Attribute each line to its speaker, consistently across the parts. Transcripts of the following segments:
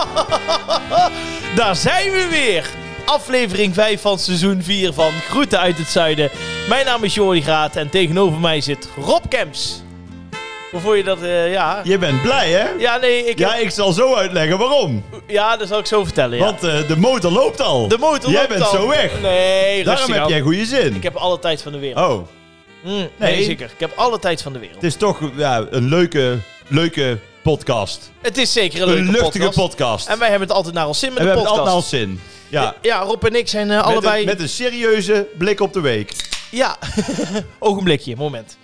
Speaker 1: Daar zijn we weer. Aflevering 5 van seizoen 4 van Groeten uit het Zuiden. Mijn naam is Jordi Graat en tegenover mij zit Rob Kemps. Hoe voel je dat? eh, ja.
Speaker 2: Je bent blij, hè?
Speaker 1: ja, nee, ik,
Speaker 2: Ja,
Speaker 1: ja,
Speaker 2: ik zal zo uitleggen waarom.
Speaker 1: dat zal ik zo vertellen. Ja.
Speaker 2: Want eh, de motor loopt al.
Speaker 1: De motor
Speaker 2: Jij
Speaker 1: loopt
Speaker 2: bent
Speaker 1: al.
Speaker 2: zo weg.
Speaker 1: Nee,
Speaker 2: Daarom
Speaker 1: rustig
Speaker 2: heb
Speaker 1: aan.
Speaker 2: jij goede zin.
Speaker 1: Ik heb alle tijd van de wereld.
Speaker 2: Oh,
Speaker 1: Mm, nee,
Speaker 2: Nee.
Speaker 1: zeker. Ik heb alle tijd van de wereld.
Speaker 2: het is toch ja, een leuke, leuke podcast.
Speaker 1: Het is zeker een
Speaker 2: Een,
Speaker 1: leuke
Speaker 2: luchtige podcast.
Speaker 1: En wij hebben het altijd naar ons zin met
Speaker 2: En we
Speaker 1: de
Speaker 2: hebben het
Speaker 1: podcast.
Speaker 2: altijd al zin. Ja. Met
Speaker 1: Ja, Rob en ik zijn eh,
Speaker 2: een-
Speaker 1: allebei...
Speaker 2: Met een serieuze blik op de week.
Speaker 1: Ja, ogenblikje, moment.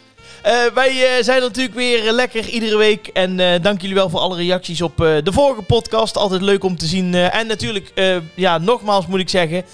Speaker 1: Eh, wij eh, zijn natuurlijk weer eh, lekker iedere week. En eh, dank jullie wel voor alle reacties op eh, de vorige podcast. Altijd leuk om te zien. Eh, en natuurlijk, eh, ja, nogmaals moet ik zeggen...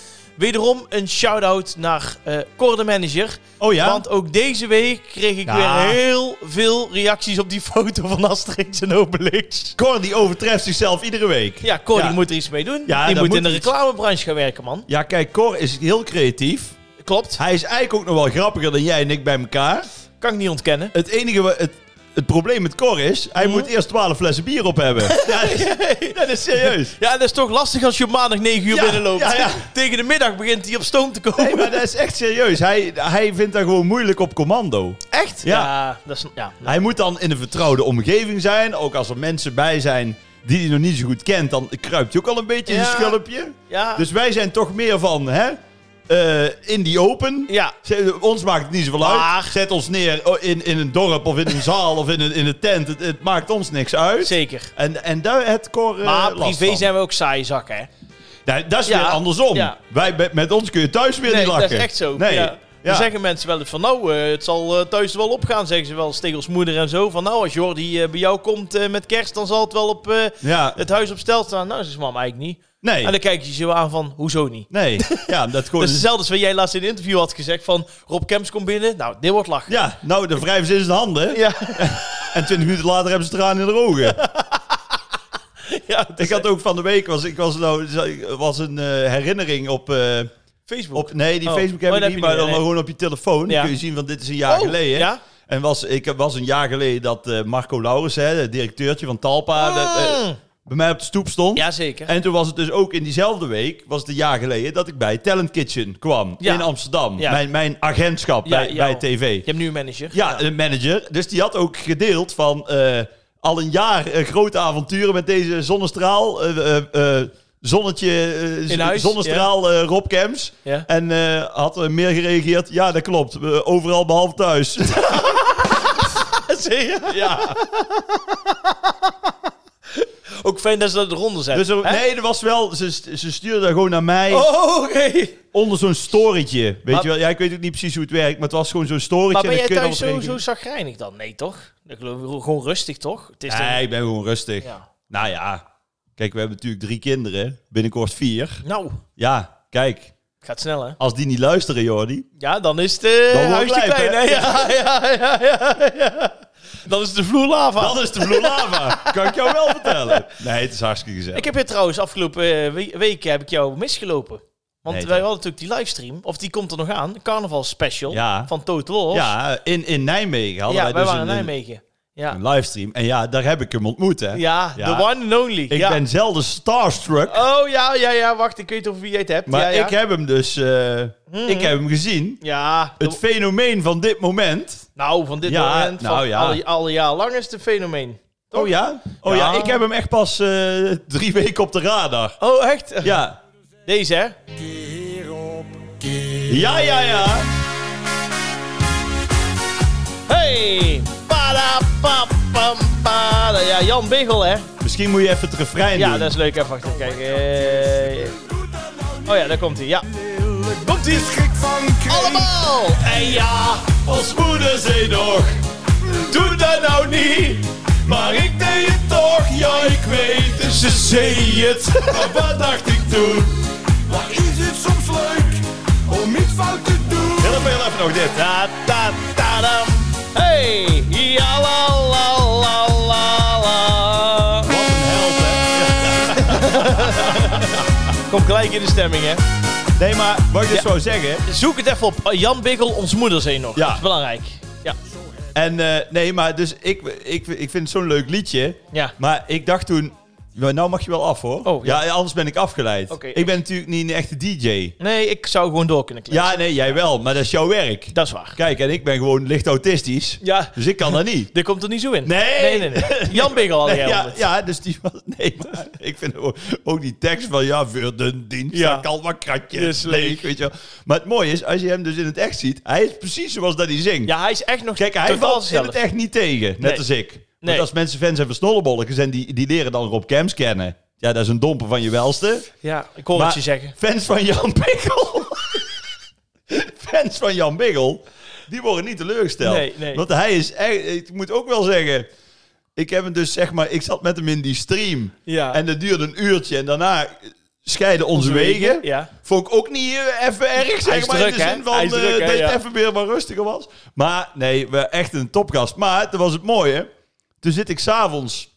Speaker 1: Wederom een shout-out naar eh Cor de Manager.
Speaker 2: Oh ja?
Speaker 1: Want ook deze week kreeg ik
Speaker 2: Ja.
Speaker 1: weer heel veel reacties op die foto van Asterix en Obelix.
Speaker 2: Cor die overtreft zichzelf iedere week.
Speaker 1: Ja, Cor
Speaker 2: Ja.
Speaker 1: die moet er iets mee doen.
Speaker 2: Ja,
Speaker 1: die
Speaker 2: daar
Speaker 1: moet
Speaker 2: moet
Speaker 1: in de
Speaker 2: iets.
Speaker 1: reclamebranche gaan werken, man.
Speaker 2: Ja, kijk, Cor is heel creatief.
Speaker 1: Klopt,
Speaker 2: Hij is eigenlijk ook nog wel grappiger dan jij en ik bij elkaar.
Speaker 1: kan ik niet ontkennen.
Speaker 2: Het enige wa- het, het probleem met Cor is, hij
Speaker 1: Mhm.
Speaker 2: moet eerst 12 flessen bier op hebben. ja, dat is, dat is serieus.
Speaker 1: Ja, en dat is toch lastig als je op maandag 9 uur
Speaker 2: Ja,
Speaker 1: binnenloopt.
Speaker 2: ja, ja.
Speaker 1: Tegen de middag begint hij op stoom te komen.
Speaker 2: Nee, maar dat is echt serieus. Hij, hij vindt dat gewoon moeilijk op commando.
Speaker 1: Echt? Ja.
Speaker 2: Ja.
Speaker 1: dat is, ja.
Speaker 2: Hij moet dan in een vertrouwde omgeving zijn. Ook als er mensen bij zijn die hij nog niet zo goed kent, dan kruipt hij ook al een beetje in
Speaker 1: Ja.
Speaker 2: zijn schulpje.
Speaker 1: ja.
Speaker 2: Dus wij zijn toch meer van, hè, eh, in die open.
Speaker 1: ja.
Speaker 2: Zet- Ons maakt het niet zoveel
Speaker 1: Maar-
Speaker 2: uit. Zet ons neer oh, in, in een dorp of in een zaal of in een, in een tent. Het, het maakt ons niks uit.
Speaker 1: Zeker.
Speaker 2: En, en daar het Cor eh,
Speaker 1: Maar
Speaker 2: last
Speaker 1: privé
Speaker 2: van.
Speaker 1: zijn we ook saaie zakken, hè?
Speaker 2: Nou, dat is
Speaker 1: Ja.
Speaker 2: weer andersom.
Speaker 1: Ja.
Speaker 2: Wij, met- met ons kun je thuis weer
Speaker 1: Nee,
Speaker 2: niet lachen.
Speaker 1: dat is echt zo.
Speaker 2: Nee.
Speaker 1: Ja. Dan
Speaker 2: Ja.
Speaker 1: zeggen mensen wel eens van, nou, eh, het zal eh, thuis wel opgaan, zeggen ze wel eens tegen ons moeder en zo. Van, nou, als Jordi eh, bij jou komt eh, met kerst, dan zal het wel op eh,
Speaker 2: Ja.
Speaker 1: het huis op stel staan. Nou, zegt mam eigenlijk niet.
Speaker 2: Nee. Oh, dus-
Speaker 1: En dan kijk je ze wel aan van, hoezo niet?
Speaker 2: Nee. Ja, dat gewoon...
Speaker 1: Dat is hetzelfde als wat jij laatst in een interview had gezegd van, Rob Kemps komt binnen. Nou, dit wordt lachen.
Speaker 2: Ja, nou, de wrijven ze in zijn handen.
Speaker 1: Ja,
Speaker 2: En twintig minuten later hebben ze tranen in de ogen.
Speaker 1: ja het is
Speaker 2: ik had ook van de week... Was, ik was, nou, was een eh, herinnering op... eh,
Speaker 1: Facebook.
Speaker 2: op nee, die
Speaker 1: Oh.
Speaker 2: Facebook
Speaker 1: Oh,
Speaker 2: heb ik
Speaker 1: dat
Speaker 2: niet,
Speaker 1: heb
Speaker 2: maar
Speaker 1: je
Speaker 2: dan
Speaker 1: niet, nee.
Speaker 2: gewoon op je telefoon.
Speaker 1: Ja.
Speaker 2: Dan kun je zien, van dit is een jaar
Speaker 1: Oh,
Speaker 2: geleden.
Speaker 1: Ja?
Speaker 2: En was, ik was een jaar geleden dat eh, Marco Laurens, hè, de directeurtje van Talpa... dat, eh,
Speaker 1: Mm.
Speaker 2: bij mij op de stoep stond.
Speaker 1: Jazeker.
Speaker 2: En toen was het dus ook in diezelfde week, was het een jaar geleden, dat ik bij Talent Kitchen kwam
Speaker 1: Ja.
Speaker 2: in Amsterdam.
Speaker 1: Ja.
Speaker 2: Mijn, mijn agentschap
Speaker 1: Ja,
Speaker 2: bij,
Speaker 1: jouw-
Speaker 2: bij TV.
Speaker 1: Je hebt nu een manager.
Speaker 2: Ja, een manager. Dus die had ook gedeeld van eh, al een jaar eh, grote avonturen met deze zonnestraal. eh, eh, eh, zonnetje, eh,
Speaker 1: In huis,
Speaker 2: zonnestraal eh, Rob Kems.
Speaker 1: Ja.
Speaker 2: En eh, had er meer gereageerd. Ja, dat klopt. Eh, overal behalve thuis.
Speaker 1: Zie je?
Speaker 2: ja.
Speaker 1: Ook fijn dat ze dat eronder zetten.
Speaker 2: Dus er-
Speaker 1: hè?
Speaker 2: nee, er was wel. Ze, ze stuurde dat gewoon naar mij.
Speaker 1: Oh, oké.
Speaker 2: onder zo'n storytje. Weet
Speaker 1: Maar-
Speaker 2: je wel, ja, ik weet ook niet precies hoe het werkt, maar het was gewoon zo'n storytje.
Speaker 1: Maar ben
Speaker 2: en
Speaker 1: jij
Speaker 2: dan kun je
Speaker 1: thuis
Speaker 2: dan
Speaker 1: zo,
Speaker 2: wat
Speaker 1: zo
Speaker 2: erin
Speaker 1: zagrijnig dan? Nee, toch? Ik geloof gewoon rustig, toch? Het is
Speaker 2: doen. Nee, ik ben gewoon rustig.
Speaker 1: dan- ja.
Speaker 2: Nou ja, kijk, we hebben natuurlijk drie kinderen, binnenkort vier.
Speaker 1: Nou,
Speaker 2: Ja, kijk,
Speaker 1: het gaat snel, hè?
Speaker 2: als die niet luisteren, Jordi.
Speaker 1: Ja, dan is het eh,
Speaker 2: Dan wordt
Speaker 1: huis te
Speaker 2: het lijp,
Speaker 1: klein, hè? Ja, ja, ja, ja, ja. Dan is de vloer lava.
Speaker 2: Dat is de Blue Lava, kan ik jou wel vertellen. Nee, het is hartstikke gezellig.
Speaker 1: Ik heb je trouwens afgelopen eh, we- week heb ik jou misgelopen. Want
Speaker 2: Nee,
Speaker 1: wij
Speaker 2: toch?
Speaker 1: hadden natuurlijk die livestream, of die komt er nog aan, een carnaval special
Speaker 2: Ja.
Speaker 1: van Total Loss.
Speaker 2: Ja, in, in Nijmegen hadden
Speaker 1: Ja, wij
Speaker 2: wij dus
Speaker 1: waren in
Speaker 2: een,
Speaker 1: Nijmegen. Ja,
Speaker 2: een livestream. En ja, daar heb ik hem ontmoet, hè.
Speaker 1: ja,
Speaker 2: Ja.
Speaker 1: the one and only.
Speaker 2: Ik
Speaker 1: ja.
Speaker 2: ben zelden starstruck,
Speaker 1: Oh ja, ja, ja, wacht, ik weet over wie jij het hebt.
Speaker 2: maar
Speaker 1: ja, ja.
Speaker 2: ik heb hem dus... eh, Ik heb hem gezien.
Speaker 1: Ja,
Speaker 2: Het
Speaker 1: de-
Speaker 2: fenomeen van dit moment...
Speaker 1: nou, van dit
Speaker 2: Ja,
Speaker 1: moment, van
Speaker 2: nou ja.
Speaker 1: alle, alle jaar lang is het een fenomeen.
Speaker 2: Oh ja? Oh
Speaker 1: Ja.
Speaker 2: ja, ik heb hem echt pas eh, drie weken op de radar.
Speaker 1: Oh, echt?
Speaker 2: Ja.
Speaker 1: Deze, hè?
Speaker 2: Ja, ja, ja.
Speaker 1: Hey! Pada, pa, pam, pada. Ja, Jan Biggel, hè?
Speaker 2: Misschien moet je even het refrein
Speaker 1: Ja,
Speaker 2: doen.
Speaker 1: dat is leuk. Even wachten, kijken. Eh, Oh ja, daar komt hij, ja. Komt hij! Allemaal! En ja!
Speaker 2: Ons moeder zei nog, doe dat nou niet. Maar ik deed het toch, ja ik weet het, ze zei het. Maar wat dacht ik toen?
Speaker 3: Maar is het soms leuk om iets fout te doen?
Speaker 2: Heel even, heel even nog dit.
Speaker 1: Ta, ta, ta, dam. Hey! Ja, la, la, la, la, la.
Speaker 2: Wat een held hè. Ja.
Speaker 1: Kom gelijk in de stemming, hè?
Speaker 2: Nee, maar wat ik dus
Speaker 1: Ja.
Speaker 2: zou zeggen,
Speaker 1: Eh, Zoek het even op. Jan Biggel, ons moeder zei nog.
Speaker 2: Ja.
Speaker 1: Dat is belangrijk. Ja.
Speaker 2: En eh, nee, maar dus ik, ik, ik vind het zo'n leuk liedje.
Speaker 1: Ja.
Speaker 2: Maar ik dacht toen, ja, nou mag je wel af hoor.
Speaker 1: Oh, ja.
Speaker 2: anders ben ik afgeleid.
Speaker 1: Oké.
Speaker 2: Ik ben natuurlijk niet een echte DJ.
Speaker 1: Nee, ik zou gewoon door kunnen kletsen.
Speaker 2: Ja, nee, jij wel, maar dat is jouw werk.
Speaker 1: Dat is waar.
Speaker 2: Kijk, en ik ben gewoon licht autistisch.
Speaker 1: Ja,
Speaker 2: Dus ik kan dat niet.
Speaker 1: dit komt er niet zo in.
Speaker 2: Nee.
Speaker 1: Nee, nee, nee. Jan Biggel had jij
Speaker 2: ja,
Speaker 1: honderd.
Speaker 2: ja, dus die was. Nee, maar ik vind ook, ook die tekst van. Ja, voor de dienst.
Speaker 1: Ja.
Speaker 2: Ja, kan maar kratjes
Speaker 1: Is leeg.
Speaker 2: leeg. Weet je wel. Maar het mooie is, als je hem dus in het echt ziet. Hij is precies zoals dat hij zingt.
Speaker 1: Ja, hij is echt nog
Speaker 2: Kijk, hij
Speaker 1: totaal
Speaker 2: valt in
Speaker 1: zichzelf.
Speaker 2: het echt niet tegen. Net
Speaker 1: Nee.
Speaker 2: als ik.
Speaker 1: Nee.
Speaker 2: Want als mensen fan zijn van snollebolletjes en die, die leren dan Rob Camps kennen. Ja, dat is een domper van je welste.
Speaker 1: Ja, ik hoor het
Speaker 2: Maar
Speaker 1: je zeggen.
Speaker 2: fans van Jan Biggel... fans van Jan Biggel, die worden niet teleurgesteld.
Speaker 1: Nee, nee.
Speaker 2: Want hij is echt... Ik moet ook wel zeggen... Ik heb hem dus, zeg maar... Ik zat met hem in die stream.
Speaker 1: Ja.
Speaker 2: En dat duurde een uurtje. En daarna scheiden onze, wegen.
Speaker 1: Ja.
Speaker 2: Vond ik ook niet eh, even erg, zeg
Speaker 1: is
Speaker 2: maar.
Speaker 1: druk,
Speaker 2: in de
Speaker 1: hè?
Speaker 2: zin van
Speaker 1: Hij is
Speaker 2: eh,
Speaker 1: druk, hè,
Speaker 2: dat het
Speaker 1: ja.
Speaker 2: even weer maar rustiger was. Maar nee, we- echt een topgast. Maar dat was het mooie. Toen zit ik s'avonds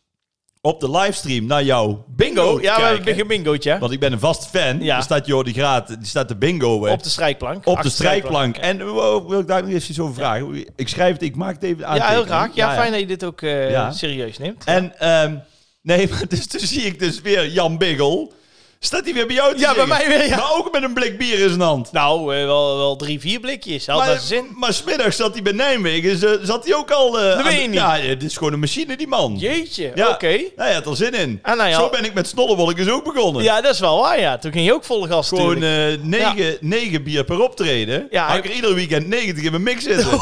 Speaker 2: op de livestream naar jou.
Speaker 1: Bingo.
Speaker 2: te
Speaker 1: Ja, we
Speaker 2: kijken.
Speaker 1: hebben een bingootje. hè?
Speaker 2: Want ik ben een vast fan.
Speaker 1: Ja.
Speaker 2: Er staat Jordi Graat, die staat de bingo eh,
Speaker 1: Op de strijkplank.
Speaker 2: op de
Speaker 1: Achter
Speaker 2: strijkplank. En wow, wil ik daar nog eens iets over vragen? Ik schrijf het, ik maak het even aan.
Speaker 1: Ja, heel graag. Ja, fijn dat je dit ook eh,
Speaker 2: Ja.
Speaker 1: serieus neemt.
Speaker 2: En ehm, nee, maar dus, toen zie ik dus weer Jan Biggel. Staat hij weer bij jou te
Speaker 1: Ja, bij
Speaker 2: zingen.
Speaker 1: mij weer, ja.
Speaker 2: Maar ook met een blik bier in zijn hand.
Speaker 1: Nou, eh, wel, wel drie, vier blikjes. Had
Speaker 2: Maar,
Speaker 1: dat zin?
Speaker 2: maar smiddags zat hij bij Nijmegen. z- Zat hij ook al... eh, aan
Speaker 1: weet
Speaker 2: de-
Speaker 1: je niet.
Speaker 2: Ja, het is gewoon een machine, die man.
Speaker 1: Jeetje,
Speaker 2: Ja.
Speaker 1: oké.
Speaker 2: Hij had er zin in.
Speaker 1: Ah, nou ja.
Speaker 2: Zo ben ik met Snollewolkjes ook begonnen.
Speaker 1: Ja, dat is wel waar, ja. Toen ging je ook volle gas
Speaker 2: Gewoon
Speaker 1: tuurlijk.
Speaker 2: eh, negen, negen bier per optreden.
Speaker 1: Ja,
Speaker 2: Ja, Had ik
Speaker 1: hij-
Speaker 2: er ieder weekend 90 in mijn mix zitten.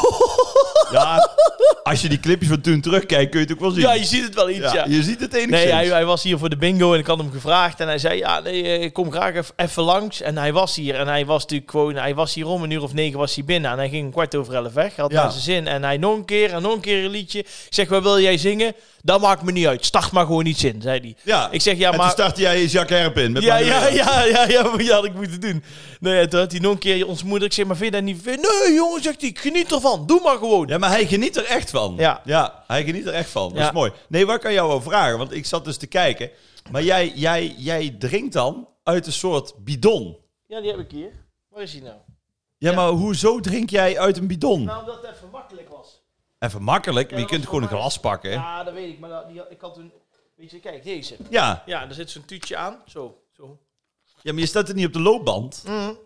Speaker 2: ja, als je die clipjes van toen terugkijkt, kun je het ook wel eh, zien.
Speaker 1: Ja, je ziet het wel iets, ja.
Speaker 2: Ja, Je ziet het enigszins.
Speaker 1: Nee, hij, hij was hier voor de bingo en ik had hem gevraagd. En hij zei, ja, nee, eh, ik kom graag eff- even langs. En hij was hier. En hij was natuurlijk gewoon... Hij was hier om een uur of negen was hij binnen. En hij ging om kwart over elf weg. Hij had
Speaker 2: Ja.
Speaker 1: naar zijn zin. En hij nog een keer en nog een keer een liedje. Ik zeg, wat wil jij zingen? Dat maakt me niet uit. Start maar gewoon iets in, zei hij.
Speaker 2: Ja.
Speaker 1: Ik zeg, ja,
Speaker 2: en
Speaker 1: maar...
Speaker 2: toen startte jij Jacques Herp in. Met
Speaker 1: Ja,
Speaker 2: Manuela.
Speaker 1: ja, ja, ja, ja, maar ja, dat had ik moeten doen. Nee, en toen had hij nog een keer ons moeder. Ik zeg, maar vind je dat niet... Nee, jongen, zegt hij, ik geniet ervan. Doe maar gewoon.
Speaker 2: Ja, maar hij geniet er echt van.
Speaker 1: Ja.
Speaker 2: hij geniet er echt van. Dat
Speaker 1: Ja.
Speaker 2: is mooi. Nee, wat kan jou wel vragen? Want ik zat dus te kijken. Maar jij, jij, jij drinkt dan uit een soort bidon.
Speaker 1: Ja, die heb ik hier. Waar is hij nou?
Speaker 2: Ja, maar hoezo drink jij uit een bidon?
Speaker 1: Nou, omdat het even makkelijk was.
Speaker 2: Even makkelijk, maar je
Speaker 1: dat
Speaker 2: kunt
Speaker 1: was
Speaker 2: gewoon een
Speaker 1: voor mij.
Speaker 2: glas pakken. Ja,
Speaker 1: Ja, dat weet ik, maar dat- die, had- ik had een... Weet je, kijk, deze.
Speaker 2: ja.
Speaker 1: Ja, daar zit zo'n tuutje aan. Zo, zo.
Speaker 2: maar je staat er niet op de loopband.
Speaker 1: Mm.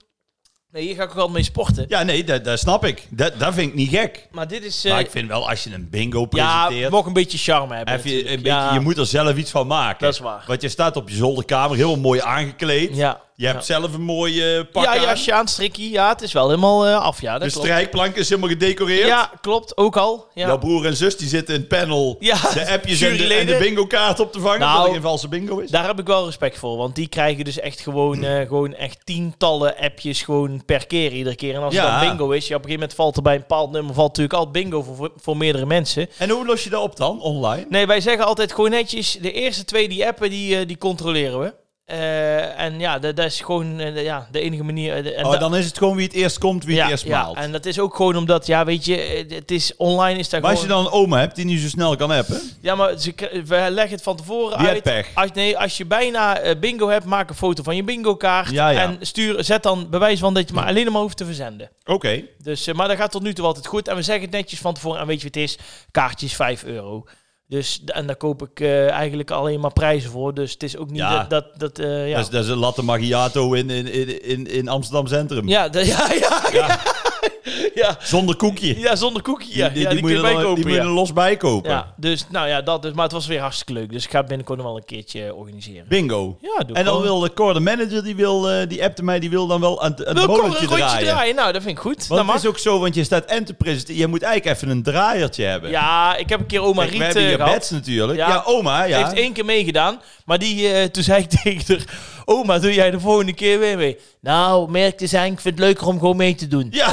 Speaker 1: Nee, hier ga ik ook wel mee sporten.
Speaker 2: Ja, nee, dat, dat snap ik. Dat, dat vind ik niet gek.
Speaker 1: Maar dit is... eh,
Speaker 2: Maar ik vind wel, als je een bingo
Speaker 1: ja,
Speaker 2: presenteert...
Speaker 1: mag een beetje charme hebben.
Speaker 2: heb je, een
Speaker 1: natuurlijk.
Speaker 2: beetje,
Speaker 1: ja.
Speaker 2: je moet er zelf iets van maken.
Speaker 1: Dat is waar.
Speaker 2: Want je staat op je zolderkamer, heel mooi aangekleed.
Speaker 1: Ja.
Speaker 2: Je hebt zelf een mooie pak
Speaker 1: ja,
Speaker 2: aan.
Speaker 1: jasje aan, strikkie. Ja, het is wel helemaal eh, af, ja. Dat
Speaker 2: de
Speaker 1: klopt.
Speaker 2: strijkplank is helemaal gedecoreerd.
Speaker 1: Ja, klopt. Ook al. Ja.
Speaker 2: Jouw broer en zus die zitten in het panel
Speaker 1: Ja,
Speaker 2: de appjes en de, en
Speaker 1: juryleden.
Speaker 2: de bingo kaart op te vangen.
Speaker 1: Nou,
Speaker 2: omdat er geen valse bingo is.
Speaker 1: Daar heb ik wel respect voor, want die krijgen dus echt gewoon, eh, gewoon echt tientallen appjes gewoon per keer iedere keer. En als het
Speaker 2: Ja.
Speaker 1: dan bingo is, ja, op een gegeven moment valt er bij een bepaald nummer valt natuurlijk altijd bingo voor- voor, voor meerdere mensen.
Speaker 2: En hoe los je dat op dan, online?
Speaker 1: Nee, wij zeggen altijd gewoon netjes, de eerste twee die appen, die, eh, die controleren we. Eh, en ja, dat, dat is gewoon eh, de- ja, de enige manier. eh, de- en
Speaker 2: oh,
Speaker 1: da-
Speaker 2: dan is het gewoon wie het eerst komt, wie
Speaker 1: ja,
Speaker 2: het eerst
Speaker 1: ja,
Speaker 2: maalt.
Speaker 1: en dat is ook gewoon omdat, ja, weet je, eh, het is online is daar
Speaker 2: Maar als je
Speaker 1: gewoon...
Speaker 2: dan een oma hebt die niet zo snel kan appen...
Speaker 1: Ja, maar ze, k- we leggen het van tevoren
Speaker 2: Die
Speaker 1: uit.
Speaker 2: heeft pech.
Speaker 1: Als, nee, als je bijna eh, bingo hebt, maak een foto van je bingo-kaart.
Speaker 2: Ja, ja.
Speaker 1: En stuur, zet dan bewijs van dat je maar alleen maar hoeft te verzenden.
Speaker 2: Oké.
Speaker 1: Dus, eh, maar dat gaat tot nu toe altijd goed. En we zeggen het netjes van tevoren. En weet je wat het is? Kaartjes 5 euro. Dus, d- en daar koop ik eh, eigenlijk alleen maar prijzen voor. Dus het is ook niet
Speaker 2: Ja.
Speaker 1: dat... dat, dat eh, ja.
Speaker 2: Dat, is, dat is een latte macchiato in, in, in, in, in Amsterdam Centrum.
Speaker 1: Ja, dat- ja, ja, ja, ja.
Speaker 2: Zonder koekje.
Speaker 1: Ja, zonder koekje. Ja,
Speaker 2: die,
Speaker 1: ja,
Speaker 2: die
Speaker 1: die,
Speaker 2: moet
Speaker 1: kun
Speaker 2: je
Speaker 1: je
Speaker 2: dan-
Speaker 1: bijkopen.
Speaker 2: die moet je
Speaker 1: ja.
Speaker 2: er los bij kopen.
Speaker 1: Ja, dus, nou ja, dat dus. Maar het was weer hartstikke leuk. Dus ik ga het binnenkort nog wel een keertje organiseren.
Speaker 2: Bingo.
Speaker 1: Ja, doe
Speaker 2: en dan
Speaker 1: gewoon.
Speaker 2: wil de core de manager, die, wil, eh, die appte mij, die wil dan wel aan het aan het
Speaker 1: Wil Cor een
Speaker 2: molletje
Speaker 1: rondje draaien. Nou, dat vind ik goed.
Speaker 2: Want
Speaker 1: dat
Speaker 2: het
Speaker 1: mag.
Speaker 2: is ook zo, want je staat en te presenteren. Je moet eigenlijk even een draaiertje hebben.
Speaker 1: Ja, ik heb een keer oma
Speaker 2: Kijk, we
Speaker 1: Riet
Speaker 2: hebben
Speaker 1: eh,
Speaker 2: hier
Speaker 1: gehad.
Speaker 2: bets natuurlijk.
Speaker 1: Ja.
Speaker 2: Ja, oma,
Speaker 1: Ze
Speaker 2: ja.
Speaker 1: heeft één keer meegedaan. Maar die, eh, toen zei ik tegen haar... Oma, doe jij de volgende keer weer mee? Nou, merk te zijn, ik vind het leuker om gewoon mee te doen.
Speaker 2: Ja.